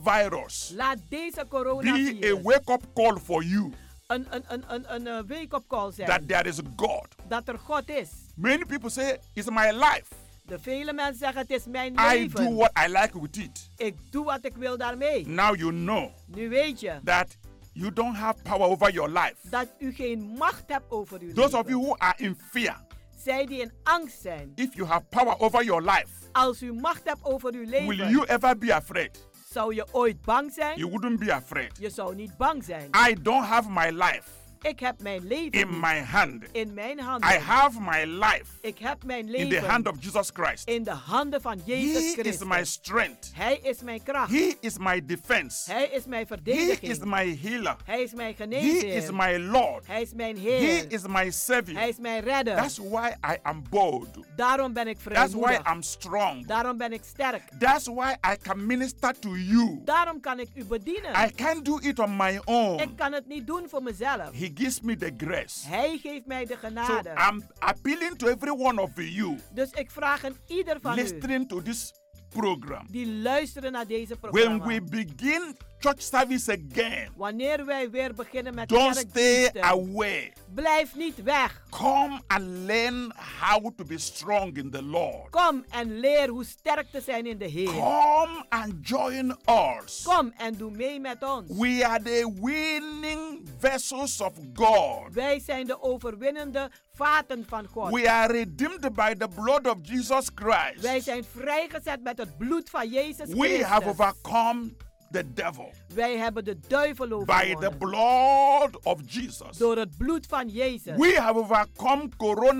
Speaker 4: coronavirus
Speaker 9: Laat deze
Speaker 4: be a
Speaker 9: coronavirus
Speaker 4: wake up call for you
Speaker 9: een, een, een, een, een eh, wake-up call zijn.
Speaker 4: that there is God.
Speaker 9: dat er God is.
Speaker 4: Many people say, It's my life.
Speaker 9: De vele mensen zeggen het is mijn
Speaker 4: I
Speaker 9: leven.
Speaker 4: do what I like with it.
Speaker 9: Ik doe wat ik wil daarmee.
Speaker 4: Now you know
Speaker 9: Nu weet je
Speaker 4: that you don't have power over your life.
Speaker 9: dat u geen macht hebt over uw
Speaker 4: Those
Speaker 9: leven.
Speaker 4: of you who are in fear,
Speaker 9: Zij die in angst zijn.
Speaker 4: if you have power over your life,
Speaker 9: Als u macht hebt over uw
Speaker 4: will
Speaker 9: leven,
Speaker 4: you ever be afraid?
Speaker 9: zou je ooit bang zijn?
Speaker 4: You wouldn't be afraid.
Speaker 9: Je zou niet bang zijn.
Speaker 4: I don't have my life
Speaker 9: Ik heb mijn leven
Speaker 4: in
Speaker 9: niet
Speaker 4: my hand.
Speaker 9: in mijn handen.
Speaker 4: I have my life
Speaker 9: ik heb mijn
Speaker 4: in the
Speaker 9: leven
Speaker 4: hand of Jesus Christ.
Speaker 9: in de handen van Jezus
Speaker 4: He
Speaker 9: Christus.
Speaker 4: is my strength.
Speaker 9: Hij is mijn kracht.
Speaker 4: He is my defense.
Speaker 9: Hij is mijn
Speaker 4: He
Speaker 9: verdediging.
Speaker 4: is my healer.
Speaker 9: Hij is mijn
Speaker 4: He
Speaker 9: geneesheer.
Speaker 4: is my Lord.
Speaker 9: Hij is mijn
Speaker 4: He
Speaker 9: Heer.
Speaker 4: is my
Speaker 9: Hij
Speaker 4: Savior.
Speaker 9: is mijn redder.
Speaker 4: That's why I am bold.
Speaker 9: Daarom ben ik
Speaker 4: That's why
Speaker 9: vrijmoedig.
Speaker 4: I'm strong.
Speaker 9: Daarom ben ik sterk.
Speaker 4: That's why I can minister to you.
Speaker 9: Daarom kan ik u bedienen.
Speaker 4: I can't do it on my own.
Speaker 9: ik kan het niet doen voor mezelf.
Speaker 4: He gives me the grace.
Speaker 9: Hij geeft mij de
Speaker 4: So
Speaker 9: genade.
Speaker 4: I'm appealing to every one of you
Speaker 9: dus ik vraag aan ieder van u
Speaker 4: listening to this program.
Speaker 9: die luisteren naar deze programma.
Speaker 4: When we begin church service again,
Speaker 9: Wanneer wij weer beginnen met
Speaker 4: don't stay
Speaker 9: kerkdiensten,
Speaker 4: away.
Speaker 9: blijf niet weg.
Speaker 4: Come and learn how to be strong in the Lord.
Speaker 9: Kom en leer hoe sterk te zijn in de Heer.
Speaker 4: Come and join us.
Speaker 9: Kom en doe mee met ons.
Speaker 4: We are the winning vessels of God.
Speaker 9: Wij zijn de overwinnende vaten van God.
Speaker 4: We are redeemed by the blood of Jesus Christ.
Speaker 9: Wij zijn vrijgezet met het bloed van Jezus
Speaker 4: We
Speaker 9: Christus.
Speaker 4: have overcome the devil
Speaker 9: Wij hebben de duivel
Speaker 4: by the
Speaker 9: overwonnen.
Speaker 4: blood of Jesus.
Speaker 9: Door het bloed van Jezus.
Speaker 4: We have overcome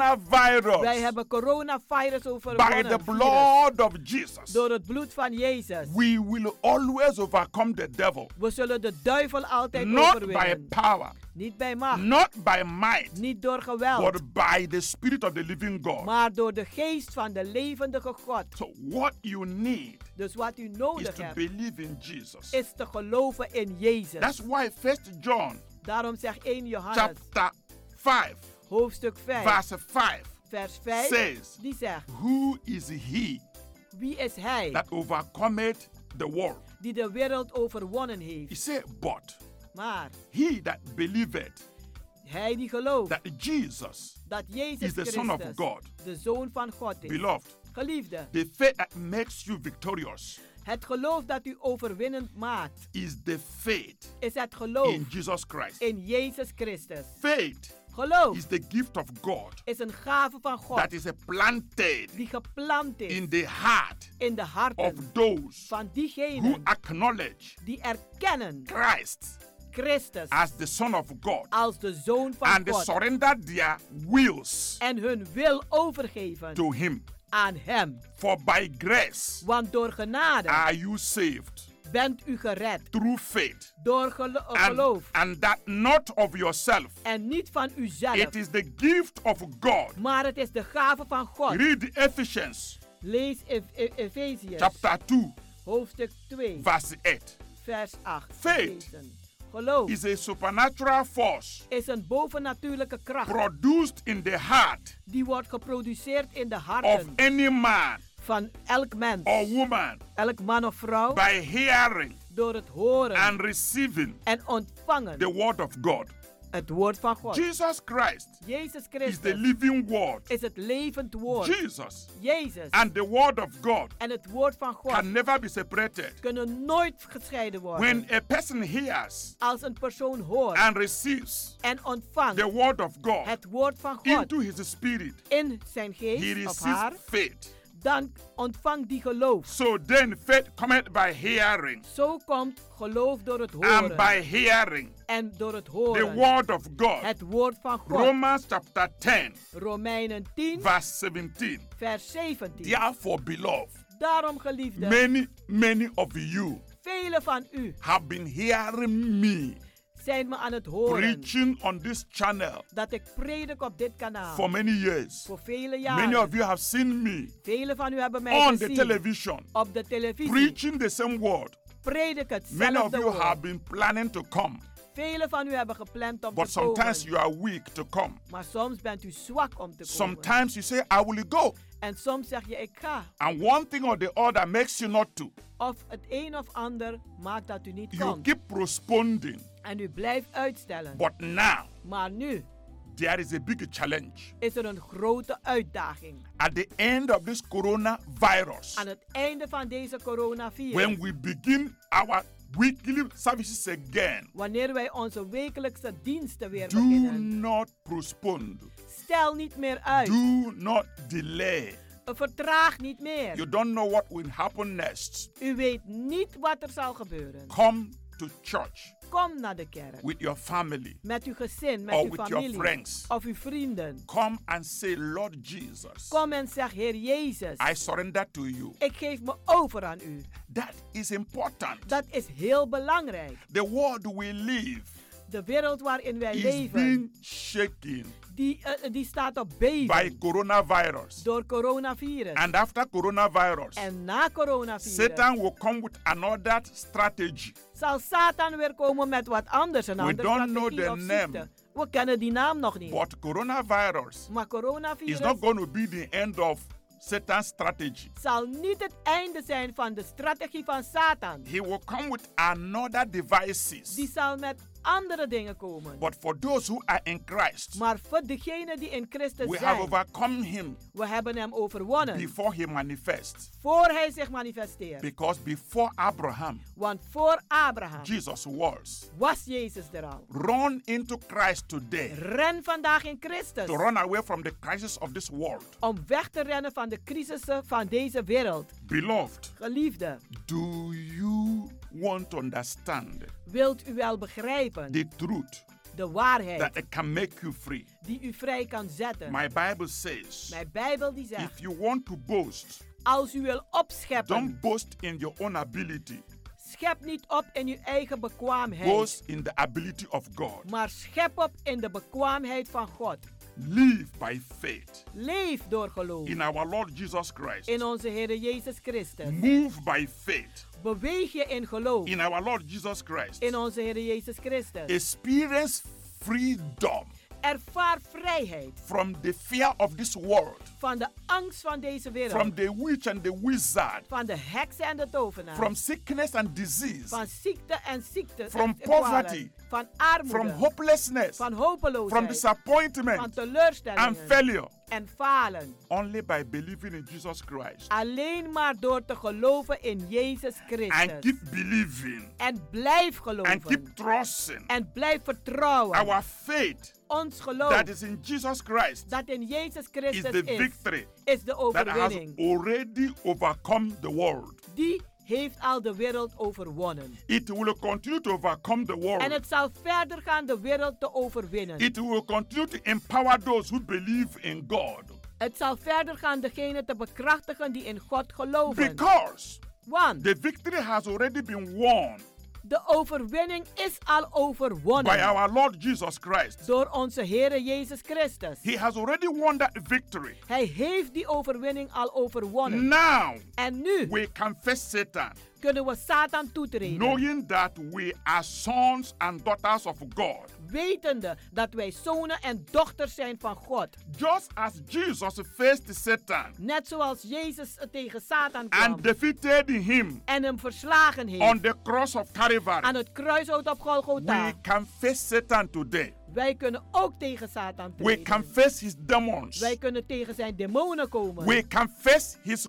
Speaker 4: coronavirus.
Speaker 9: Wij hebben coronavirus
Speaker 4: by
Speaker 9: overwonnen.
Speaker 4: the
Speaker 9: virus.
Speaker 4: blood of Jesus.
Speaker 9: Door het bloed van Jezus.
Speaker 4: We will always overcome the devil.
Speaker 9: We zullen de duivel altijd
Speaker 4: Not by
Speaker 9: overwinnen.
Speaker 4: power,
Speaker 9: Niet bij macht.
Speaker 4: not by might,
Speaker 9: Niet door geweld.
Speaker 4: but by the Spirit of the living God.
Speaker 9: Maar door de geest van de levendige God.
Speaker 4: What you need
Speaker 9: dus wat u
Speaker 4: is
Speaker 9: nodig
Speaker 4: to
Speaker 9: hebt,
Speaker 4: believe in Jesus.
Speaker 9: is te geloven in Jezus.
Speaker 4: That's why 1 John
Speaker 9: Daarom zegt 1 Johannes,
Speaker 4: chapter 5
Speaker 9: hoofdstuk 5,
Speaker 4: verse 5
Speaker 9: vers 5,
Speaker 4: says,
Speaker 9: die zegt,
Speaker 4: Who is he
Speaker 9: wie is hij
Speaker 4: that overcometh the world?
Speaker 9: die de wereld overwonnen heeft?
Speaker 4: He said, But
Speaker 9: Maar
Speaker 4: he that believeth
Speaker 9: hij die gelooft
Speaker 4: that Jesus
Speaker 9: dat Jezus
Speaker 4: is the
Speaker 9: Christus
Speaker 4: Son of God,
Speaker 9: de Zoon van God is.
Speaker 4: beloved,
Speaker 9: Geliefde,
Speaker 4: the faith that makes you victorious
Speaker 9: het geloof dat u overwinnend maakt,
Speaker 4: is the faith
Speaker 9: is het geloof
Speaker 4: in Jesus Christ.
Speaker 9: in Jezus Christus.
Speaker 4: Faith
Speaker 9: Geloof
Speaker 4: is the gift of God
Speaker 9: is een gave van God
Speaker 4: that is planted
Speaker 9: die geplant is
Speaker 4: in the heart
Speaker 9: in de harten
Speaker 4: of those
Speaker 9: van
Speaker 4: who
Speaker 9: diegenen
Speaker 4: acknowledge
Speaker 9: die erkennen
Speaker 4: Christ
Speaker 9: Christus
Speaker 4: as the Son of God
Speaker 9: als de Zoon van
Speaker 4: and they
Speaker 9: God
Speaker 4: surrender their wills
Speaker 9: en hun wil overgeven
Speaker 4: to Him.
Speaker 9: aan Hem.
Speaker 4: For by grace
Speaker 9: Want door genade
Speaker 4: are you saved
Speaker 9: bent u gered
Speaker 4: through faith
Speaker 9: door gelo- eh,
Speaker 4: and,
Speaker 9: geloof
Speaker 4: and that not of yourself.
Speaker 9: en niet van uzelf.
Speaker 4: It is the gift of God.
Speaker 9: Maar het is de gave van God.
Speaker 4: Read Ephesians
Speaker 9: Lees Efeziërs
Speaker 4: chapter 2
Speaker 9: hoofdstuk 2
Speaker 4: verse 8.
Speaker 9: vers 8.
Speaker 4: Faith
Speaker 9: Lezen. Geloof
Speaker 4: is a supernatural force
Speaker 9: is een bovennatuurlijke kracht
Speaker 4: produced in the heart
Speaker 9: die wordt geproduceerd in de
Speaker 4: of
Speaker 9: harten
Speaker 4: any man
Speaker 9: van elk mens,
Speaker 4: or woman
Speaker 9: elk man of vrouw,
Speaker 4: by hearing
Speaker 9: door het horen
Speaker 4: and receiving
Speaker 9: en ontvangen
Speaker 4: the word of God.
Speaker 9: het woord van God.
Speaker 4: Jesus Christ
Speaker 9: Jezus
Speaker 4: is the
Speaker 9: Christus
Speaker 4: living word.
Speaker 9: is het levend woord.
Speaker 4: Jesus
Speaker 9: Jezus
Speaker 4: and the word of God
Speaker 9: en het woord van God
Speaker 4: can never be separated.
Speaker 9: kunnen nooit gescheiden worden.
Speaker 4: When a person hears
Speaker 9: Als een persoon hoort
Speaker 4: and receives
Speaker 9: en ontvangt
Speaker 4: the word of God
Speaker 9: het woord van God
Speaker 4: into his spirit,
Speaker 9: in zijn
Speaker 4: he
Speaker 9: geest of haar,
Speaker 4: receives faith.
Speaker 9: dan ontvangt die geloof.
Speaker 4: So then faith cometh by hearing,
Speaker 9: Zo komt geloof door het
Speaker 4: and by
Speaker 9: horen
Speaker 4: hearing
Speaker 9: en door het
Speaker 4: the
Speaker 9: horen
Speaker 4: word of God.
Speaker 9: het woord van God.
Speaker 4: Romans chapter 10,
Speaker 9: Romeinen 10,
Speaker 4: verse 17.
Speaker 9: vers 17.
Speaker 4: Therefore, beloved,
Speaker 9: Daarom, geliefde,
Speaker 4: many, many of you
Speaker 9: velen van u
Speaker 4: have been hearing me
Speaker 9: zijn me aan het horen
Speaker 4: preaching on this channel
Speaker 9: dat ik predik op dit kanaal.
Speaker 4: for many years.
Speaker 9: Voor vele
Speaker 4: Many
Speaker 9: jaren.
Speaker 4: of you have seen me
Speaker 9: Velen van u hebben mij
Speaker 4: on the
Speaker 9: gezien
Speaker 4: television
Speaker 9: op de televisie.
Speaker 4: preaching the same word.
Speaker 9: Predik
Speaker 4: Many of
Speaker 9: hetzelfde
Speaker 4: you
Speaker 9: woord.
Speaker 4: have been planning to come,
Speaker 9: Velen van u hebben gepland om
Speaker 4: but
Speaker 9: te komen.
Speaker 4: sometimes you are weak to come.
Speaker 9: Maar soms bent u zwak om te komen.
Speaker 4: Sometimes you say, I will go.
Speaker 9: En soms zeg je ik ga.
Speaker 4: And one thing or the other makes you not to.
Speaker 9: Of het een of ander maakt dat u niet
Speaker 4: You
Speaker 9: komt.
Speaker 4: keep postponing.
Speaker 9: En u blijft uitstellen.
Speaker 4: But now,
Speaker 9: Maar nu
Speaker 4: there is a big challenge.
Speaker 9: is er een grote uitdaging.
Speaker 4: At the end of this coronavirus,
Speaker 9: Aan het einde van deze
Speaker 4: when
Speaker 9: coronavirus.
Speaker 4: we begin our weekly services again,
Speaker 9: Wanneer wij onze wekelijkse diensten weer
Speaker 4: do
Speaker 9: beginnen.
Speaker 4: not postpone.
Speaker 9: Stel niet meer uit.
Speaker 4: Do not delay.
Speaker 9: Vertraag niet
Speaker 4: You
Speaker 9: meer.
Speaker 4: don't know what will happen next.
Speaker 9: U weet niet wat er zal gebeuren.
Speaker 4: Come to church
Speaker 9: Kom naar de kerk.
Speaker 4: with your family.
Speaker 9: Met uw gezin, met
Speaker 4: Or
Speaker 9: uw
Speaker 4: with your
Speaker 9: familie.
Speaker 4: friends.
Speaker 9: Of uw vrienden.
Speaker 4: Come and say, Lord Jesus,
Speaker 9: Kom en zeg, Heer Jezus,
Speaker 4: I surrender to you.
Speaker 9: ik geef me over aan u.
Speaker 4: That is important.
Speaker 9: Dat is heel belangrijk.
Speaker 4: The world we live
Speaker 9: De wereld waarin wij
Speaker 4: is
Speaker 9: leven,
Speaker 4: being shaken
Speaker 9: die, eh, die staat op beven
Speaker 4: by coronavirus.
Speaker 9: door coronavirus.
Speaker 4: And after coronavirus,
Speaker 9: en na coronavirus
Speaker 4: Satan will come with another strategy.
Speaker 9: zal Satan weer komen met wat anders. Een
Speaker 4: We
Speaker 9: andere
Speaker 4: don't know
Speaker 9: strategie
Speaker 4: the
Speaker 9: of ziekte.
Speaker 4: name.
Speaker 9: We kennen die naam nog niet.
Speaker 4: But coronavirus
Speaker 9: maar
Speaker 4: is
Speaker 9: coronavirus
Speaker 4: not going to be the end of Satan's strategy.
Speaker 9: zal niet het einde zijn van de strategie van Satan.
Speaker 4: He will come with another devices.
Speaker 9: Die zal met andere dingen komen.
Speaker 4: But for those who are in Christ,
Speaker 9: Maar voor degenen die in Christus
Speaker 4: we have
Speaker 9: zijn,
Speaker 4: overcome him
Speaker 9: we hebben hem overwonnen.
Speaker 4: before he manifests.
Speaker 9: voor hij zich manifesteert.
Speaker 4: Because before Abraham,
Speaker 9: Want voor Abraham
Speaker 4: Jesus was.
Speaker 9: was Jezus er al.
Speaker 4: Run into Christ today.
Speaker 9: Ren vandaag in Christus
Speaker 4: To run away from the crisis of this world.
Speaker 9: om weg te rennen van de crisissen van deze wereld.
Speaker 4: Beloved,
Speaker 9: Geliefde,
Speaker 4: do you want to understand
Speaker 9: wilt u wel begrijpen
Speaker 4: the truth
Speaker 9: de waarheid
Speaker 4: that it can make you free?
Speaker 9: die u vrij kan zetten?
Speaker 4: My Bible says
Speaker 9: Mijn Bijbel die zegt,
Speaker 4: if you want to boast,
Speaker 9: als u wil opscheppen,
Speaker 4: don't boast in your own ability,
Speaker 9: Schep niet op in uw eigen bekwaamheid,
Speaker 7: boast in the ability of God,
Speaker 9: maar schep op in de bekwaamheid van God.
Speaker 7: live by faith
Speaker 9: Leef door geloof
Speaker 7: in our Lord Jesus Christ,
Speaker 9: in onze Heer Jezus Christus.
Speaker 7: move by faith
Speaker 9: Beweeg je in geloof
Speaker 7: in our Lord Jesus Christ,
Speaker 9: in onze Heer Jezus Christus.
Speaker 7: experience freedom
Speaker 9: Ervaar vrijheid
Speaker 7: from the fear of this world,
Speaker 9: van de angst van deze wereld,
Speaker 7: from the witch and the wizard,
Speaker 9: van de heksen en de tovenaar,
Speaker 7: from sickness and disease,
Speaker 9: van ziekte en ziekte,
Speaker 7: From
Speaker 9: en kwalen,
Speaker 7: poverty.
Speaker 9: van armoede,
Speaker 7: from hopelessness,
Speaker 9: van hopeloosheid,
Speaker 7: from
Speaker 9: Oh, van
Speaker 7: disappointment
Speaker 9: teleurstellingen
Speaker 7: and failure,
Speaker 9: en falen.
Speaker 7: only by believing in Jesus Christ
Speaker 9: Alleen maar door te geloven in Jezus Christus.
Speaker 7: and keep believing
Speaker 9: en blijf geloven.
Speaker 7: and keep trusting
Speaker 9: en blijf vertrouwen.
Speaker 7: our faith
Speaker 9: Ons geloof
Speaker 7: that is in Jesus Christ
Speaker 9: dat in Jezus
Speaker 7: is
Speaker 9: Christus
Speaker 7: the
Speaker 9: is,
Speaker 7: victory
Speaker 9: is de
Speaker 7: that has
Speaker 9: overwinning.
Speaker 7: already overcome the world.
Speaker 9: Die heeft al de wereld overwonnen.
Speaker 7: It will continue to overcome the
Speaker 9: En
Speaker 7: world.
Speaker 9: het zal verder gaan de wereld te overwinnen.
Speaker 7: It will continue to empower those who believe in God
Speaker 9: Het zal verder gaan degene te bekrachtigen die in God geloven.
Speaker 7: because
Speaker 9: Want
Speaker 7: the victory has already been won
Speaker 9: de overwinning is al
Speaker 7: by
Speaker 9: overwonnen
Speaker 7: our Lord Jesus Christ.
Speaker 9: door onze Heere Jezus Christus.
Speaker 7: He has already won that victory.
Speaker 9: Hij heeft die overwinning al overwonnen.
Speaker 7: Now
Speaker 9: en nu
Speaker 7: we can face Satan,
Speaker 9: kunnen we Satan toetreden.
Speaker 7: knowing that we are sons and daughters of God.
Speaker 9: Wetende dat wij zonen en dochters zijn van God.
Speaker 7: Just as Jesus faced Satan
Speaker 9: Net zoals Jezus tegen Satan kwam.
Speaker 7: and defeated him
Speaker 9: en hem verslagen heeft.
Speaker 7: on the cross of Calvary,
Speaker 9: aan het kruishout op Golgotha.
Speaker 7: we can face Satan today.
Speaker 9: Wij kunnen ook tegen Satan
Speaker 7: We
Speaker 9: treden.
Speaker 7: can face his demons.
Speaker 9: Wij kunnen tegen zijn demonen komen.
Speaker 7: We can face his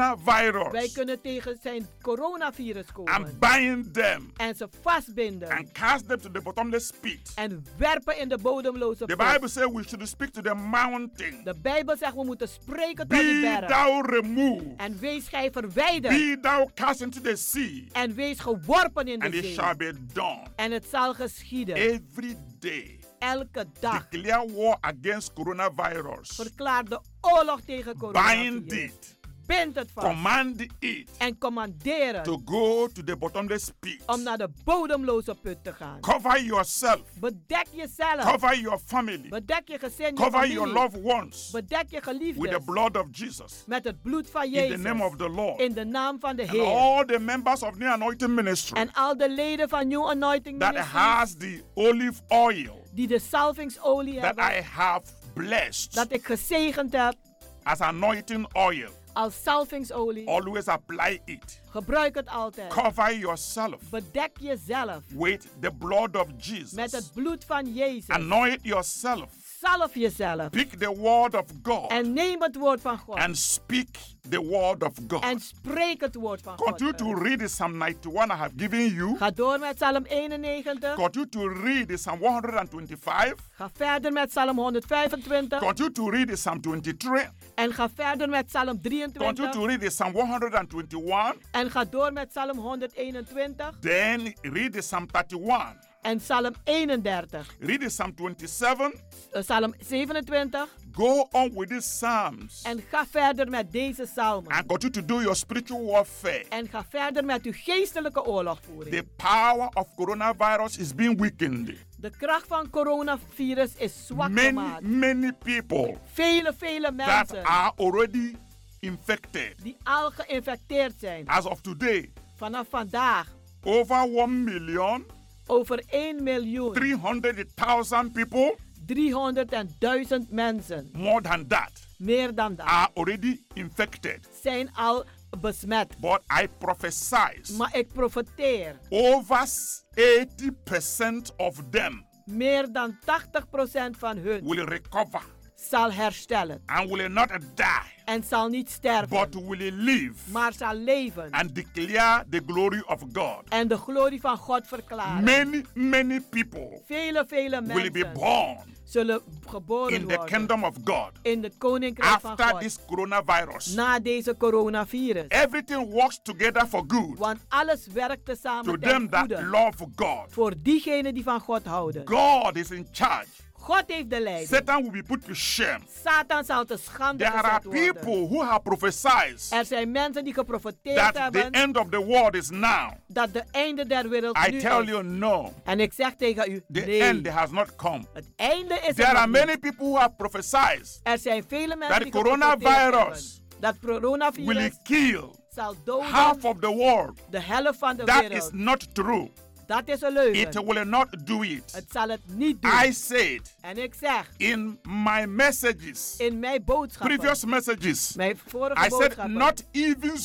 Speaker 9: Wij
Speaker 7: coronavirus
Speaker 9: kunnen tegen zijn coronavirus komen.
Speaker 7: and bind them
Speaker 9: en ze vastbinden.
Speaker 7: and cast them to the bottomless pit.
Speaker 9: en werpen in de bodemloze
Speaker 7: The
Speaker 9: put.
Speaker 7: Bible says we should speak to the mountain.
Speaker 9: de Bijbel zegt we moeten spreken tot die
Speaker 7: Be
Speaker 9: berg.
Speaker 7: thou removed.
Speaker 9: En wees gij verwijderd.
Speaker 7: Be thou cast into the sea,
Speaker 9: en wees geworpen in de
Speaker 7: and it
Speaker 9: zee.
Speaker 7: shall be done.
Speaker 9: En het zal geschieden.
Speaker 7: Every day,
Speaker 9: Elke dag.
Speaker 7: declare war against coronavirus.
Speaker 9: Verklaar de oorlog tegen
Speaker 7: Bind
Speaker 9: coronavirus.
Speaker 7: it,
Speaker 9: Bind het vast.
Speaker 7: command it
Speaker 9: en commandeer het
Speaker 7: to go to the bottomless pit.
Speaker 9: om naar de bodemloze put te gaan.
Speaker 7: Cover yourself,
Speaker 9: Bedek jezelf.
Speaker 7: cover your family,
Speaker 9: Bedek je gezin, je
Speaker 7: cover
Speaker 9: familie.
Speaker 7: your loved ones
Speaker 9: Bedek je geliefden.
Speaker 7: with the blood of Jesus.
Speaker 9: met het bloed van
Speaker 7: In
Speaker 9: Jezus.
Speaker 7: the name of the Lord,
Speaker 9: in de naam van de
Speaker 7: and
Speaker 9: Heer.
Speaker 7: all the members of the anointing ministry
Speaker 9: en al de leden van New Anointing
Speaker 7: that
Speaker 9: Ministries
Speaker 7: has the olive oil
Speaker 9: die de salvingsolie
Speaker 7: that
Speaker 9: hebben.
Speaker 7: I have blessed
Speaker 9: dat ik gezegend heb
Speaker 7: as anointing oil.
Speaker 9: als salvingsolie.
Speaker 7: Always apply it.
Speaker 9: Gebruik het altijd.
Speaker 7: Cover yourself
Speaker 9: Bedek jezelf
Speaker 7: with the blood of
Speaker 9: met
Speaker 7: Jesus.
Speaker 9: het bloed van Jezus.
Speaker 7: Anoint yourself.
Speaker 9: Zalf jezelf.
Speaker 7: Pick the word of God
Speaker 9: En neem het woord van God.
Speaker 7: and speak the word of God.
Speaker 9: en spreek het woord van God.
Speaker 7: Continue to read Psalm 91 I have given you.
Speaker 9: Ga door met Psalm 91.
Speaker 7: Continue to read Psalm 125.
Speaker 9: Ga verder met Psalm 125.
Speaker 7: Continue to read Psalm 23.
Speaker 9: En ga verder met Psalm
Speaker 7: Continue
Speaker 9: 23.
Speaker 7: to read Psalm 121.
Speaker 9: En ga door met Psalm 121.
Speaker 7: Then read Psalm 31.
Speaker 9: En Psalm 31.
Speaker 7: Read Psalm 27.
Speaker 9: Eh, Psalm 27.
Speaker 7: Go on with these psalms
Speaker 9: En ga verder met deze psalmen.
Speaker 7: and continue to do your spiritual warfare.
Speaker 9: En ga verder met uw geestelijke oorlogvoering.
Speaker 7: The power of coronavirus is being weakened.
Speaker 9: De kracht van coronavirus is zwak
Speaker 7: Many,
Speaker 9: gemaakt.
Speaker 7: many people
Speaker 9: Vele, vele
Speaker 7: that
Speaker 9: mensen
Speaker 7: are already infected.
Speaker 9: die al geïnfecteerd zijn.
Speaker 7: As of today,
Speaker 9: Vanaf vandaag
Speaker 7: over 1 million
Speaker 9: over 1 miljoen
Speaker 7: 300,000 people,
Speaker 9: 300.000 mensen,
Speaker 7: more than that,
Speaker 9: meer dan dat,
Speaker 7: are already infected.
Speaker 9: zijn al besmet.
Speaker 7: But I prophesy
Speaker 9: Maar ik profeteer,
Speaker 7: over 80% of them
Speaker 9: meer dan 80% van hun
Speaker 7: will recover
Speaker 9: zal herstellen
Speaker 7: and will not die,
Speaker 9: en zal niet sterven,
Speaker 7: but will live
Speaker 9: maar zal leven
Speaker 7: and declare the glory of God.
Speaker 9: en de glorie van God verklaren.
Speaker 7: Many, many people
Speaker 9: Vele, vele
Speaker 7: will be
Speaker 9: mensen
Speaker 7: born
Speaker 9: zullen geboren
Speaker 7: in the
Speaker 9: worden
Speaker 7: kingdom of God
Speaker 9: in het koninkrijk van
Speaker 7: after
Speaker 9: God
Speaker 7: this coronavirus.
Speaker 9: na deze coronavirus.
Speaker 7: Everything works together for good
Speaker 9: Want alles werkt
Speaker 7: to
Speaker 9: tezamen ten
Speaker 7: them that
Speaker 9: goede
Speaker 7: love God.
Speaker 9: voor diegenen die van God houden.
Speaker 7: God is in charge
Speaker 9: God heeft de leiding.
Speaker 7: Satan will be put to shame.
Speaker 9: Satan zal te schande
Speaker 7: There are
Speaker 9: gezet worden.
Speaker 7: people who have prophesied
Speaker 9: Er zijn mensen die geprofiteerd
Speaker 7: that the
Speaker 9: hebben
Speaker 7: end of the world is now.
Speaker 9: dat de einde der wereld
Speaker 7: I
Speaker 9: nu
Speaker 7: tell
Speaker 9: is.
Speaker 7: you, no.
Speaker 9: En ik zeg tegen u,
Speaker 7: The
Speaker 9: nee.
Speaker 7: end has not come.
Speaker 9: Einde is er
Speaker 7: There
Speaker 9: nog
Speaker 7: are
Speaker 9: niet.
Speaker 7: many people who have prophesied
Speaker 9: Er zijn vele mensen
Speaker 7: that
Speaker 9: die geprofiteerd hebben
Speaker 7: coronavirus
Speaker 9: dat coronavirus
Speaker 7: will kill
Speaker 9: zal doden
Speaker 7: half of the world.
Speaker 9: de helft van de
Speaker 7: That
Speaker 9: wereld.
Speaker 7: is not true.
Speaker 9: dat is een leugen.
Speaker 7: It will not do it.
Speaker 9: het zal het niet doen.
Speaker 7: I said
Speaker 9: en ik zeg
Speaker 7: in my messages,
Speaker 9: in mijn boodschappen,
Speaker 7: previous messages,
Speaker 9: mijn vorige
Speaker 7: I said
Speaker 9: boodschappen,
Speaker 7: not even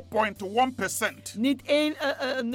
Speaker 7: 0.0.1%.
Speaker 9: niet eh, 1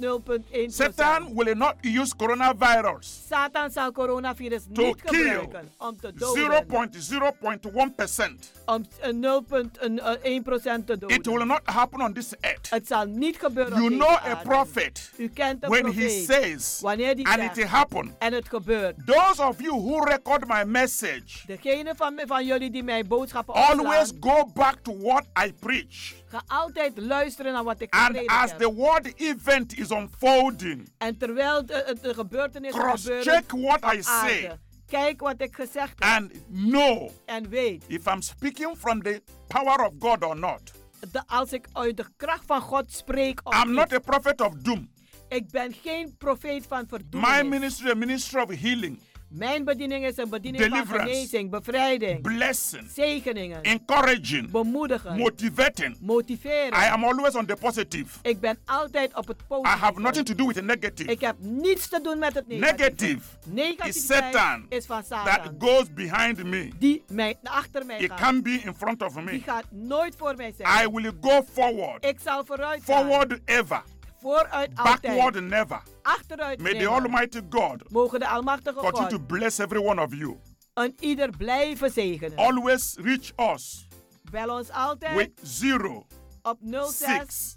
Speaker 9: 0.0.1
Speaker 7: Satan will not use coronavirus
Speaker 9: Satan zal coronavirus
Speaker 7: to
Speaker 9: niet
Speaker 7: kill
Speaker 9: gebruiken om te doden.
Speaker 7: 0.0.1%.
Speaker 9: Om eh, een 0.1% te doden.
Speaker 7: It will not happen on this earth.
Speaker 9: Het zal niet gebeuren. op
Speaker 7: You know
Speaker 9: deze
Speaker 7: a
Speaker 9: aarde.
Speaker 7: prophet
Speaker 9: U kent een
Speaker 7: when he
Speaker 9: profeet.
Speaker 7: says,
Speaker 9: Wanneer die
Speaker 7: and
Speaker 9: zegt,
Speaker 7: it happened.
Speaker 9: En het gebeurt.
Speaker 7: Those of you who record my message,
Speaker 9: Degene van, van jullie die mijn boodschappen
Speaker 7: always
Speaker 9: opslaan,
Speaker 7: go back to what I preach.
Speaker 9: ga altijd luisteren naar wat ik
Speaker 7: And
Speaker 9: gepredikt
Speaker 7: as
Speaker 9: heb.
Speaker 7: the word event is unfolding,
Speaker 9: En terwijl de, de- de gebeurtenis gebeurt,
Speaker 7: cross-check what
Speaker 9: op
Speaker 7: I say
Speaker 9: aarde, kijk wat ik gezegd heb
Speaker 7: and know
Speaker 9: en weet
Speaker 7: if I'm speaking from the power of God or not.
Speaker 9: dat als ik uit de kracht van God spreek of
Speaker 7: I'm
Speaker 9: niet.
Speaker 7: not a prophet of doom.
Speaker 9: Ik ben geen profeet van
Speaker 7: My
Speaker 9: verdoemenis.
Speaker 7: ministry is a ministry of healing,
Speaker 9: Mijn bediening is een bediening van
Speaker 7: Deliverance.
Speaker 9: genezing, bevrijding,
Speaker 7: blessing,
Speaker 9: zegeningen,
Speaker 7: encouraging,
Speaker 9: bemoedigen,
Speaker 7: motivating.
Speaker 9: motiveren.
Speaker 7: I am always on the positive.
Speaker 9: ik ben altijd op het
Speaker 7: I
Speaker 9: podium.
Speaker 7: have nothing to do with the negative.
Speaker 9: Ik heb niets te doen met het negatieve.
Speaker 7: Negative is
Speaker 9: Negativiteit
Speaker 7: Satan
Speaker 9: is van
Speaker 7: that
Speaker 9: Satan.
Speaker 7: goes behind me.
Speaker 9: Die mij achter mij
Speaker 7: It
Speaker 9: gaat.
Speaker 7: can be in front of
Speaker 9: Die
Speaker 7: me.
Speaker 9: gaat nooit voor mij zijn.
Speaker 7: I will go forward.
Speaker 9: Ik zal vooruit gaan.
Speaker 7: Forward ever.
Speaker 9: Vooruit altijd.
Speaker 7: Backward never.
Speaker 9: Achteruit
Speaker 7: May the
Speaker 9: nimmer.
Speaker 7: Almighty God
Speaker 9: Mogen de Almachtige
Speaker 7: continue
Speaker 9: God
Speaker 7: to bless every one of you.
Speaker 9: en ieder blijven zegenen.
Speaker 7: Always reach us
Speaker 9: Bel ons altijd
Speaker 7: with 0
Speaker 9: op 06
Speaker 7: 6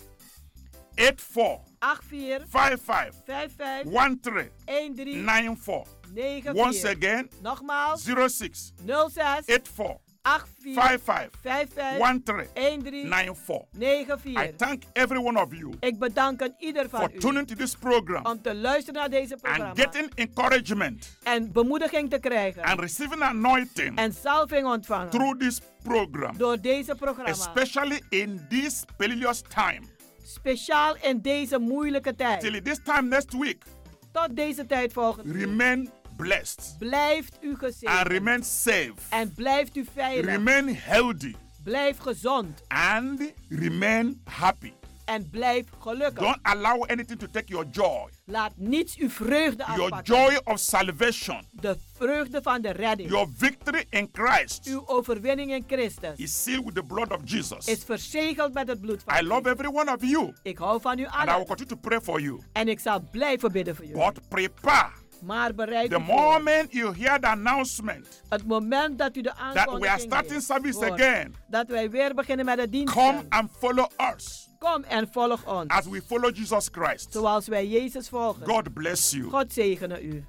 Speaker 7: 84
Speaker 9: 84
Speaker 7: 55
Speaker 9: 55
Speaker 7: 13
Speaker 9: 13
Speaker 7: 94.
Speaker 9: 94.
Speaker 7: Once again,
Speaker 9: Nogmaals
Speaker 7: 06
Speaker 9: 06
Speaker 7: 84
Speaker 9: 84
Speaker 7: 55
Speaker 9: 55
Speaker 7: 13 94.
Speaker 9: 94.
Speaker 7: I thank every one of you
Speaker 9: Ik bedank een ieder
Speaker 7: for
Speaker 9: van u
Speaker 7: tuning to this program
Speaker 9: om te luisteren naar deze
Speaker 7: and
Speaker 9: programma
Speaker 7: getting encouragement
Speaker 9: en bemoediging te krijgen
Speaker 7: and receiving anointing
Speaker 9: en salving ontvangen
Speaker 7: through this program,
Speaker 9: door deze programma.
Speaker 7: especially in this perilous time.
Speaker 9: Speciaal in deze moeilijke tijd.
Speaker 7: Till this time next week,
Speaker 9: Tot deze tijd volgende week.
Speaker 7: remain blessed
Speaker 9: Blijft u
Speaker 7: and
Speaker 9: gezegend.
Speaker 7: remain safe,
Speaker 9: En blijft u veilig.
Speaker 7: remain healthy,
Speaker 9: Blijf gezond.
Speaker 7: and remain happy.
Speaker 9: En blijf gelukkig.
Speaker 7: Don't allow anything to take your joy,
Speaker 9: Laat niets uw vreugde
Speaker 7: your
Speaker 9: afpakken.
Speaker 7: joy of salvation,
Speaker 9: De vreugde van de redding.
Speaker 7: your victory in Christ
Speaker 9: Uw overwinning in Christus
Speaker 7: is sealed with the blood of Jesus.
Speaker 9: is verzegeld met het bloed van
Speaker 7: I love
Speaker 9: Christus.
Speaker 7: every one of you,
Speaker 9: Ik hou van u
Speaker 7: and I
Speaker 9: allen.
Speaker 7: will continue to pray for you.
Speaker 9: En ik zal blijven bidden voor jullie.
Speaker 7: But prepare.
Speaker 9: Maar bereid
Speaker 7: The
Speaker 9: u voor.
Speaker 7: moment you hear the announcement
Speaker 9: Het moment dat u de
Speaker 7: that we are
Speaker 9: aankondiging
Speaker 7: starting
Speaker 9: heeft,
Speaker 7: service
Speaker 9: hoort,
Speaker 7: again,
Speaker 9: dat wij weer beginnen met de dienst.
Speaker 7: come and follow us
Speaker 9: Kom en volg ons.
Speaker 7: as we follow Jesus Christ.
Speaker 9: Zoals wij Jezus volgen.
Speaker 7: God bless you.
Speaker 9: God zegene u.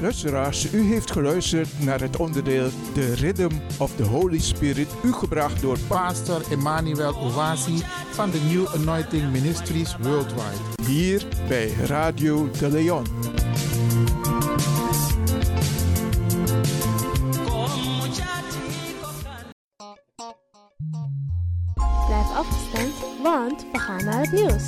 Speaker 8: Luisteraars, u heeft geluisterd naar het onderdeel The Rhythm of the Holy Spirit, u gebracht door
Speaker 4: Pastor Emmanuel Owasi van de New Anointing Ministries Worldwide.
Speaker 8: hier bij Radio de Leon.
Speaker 12: Blijf afgestemd, want we gaan naar het nieuws.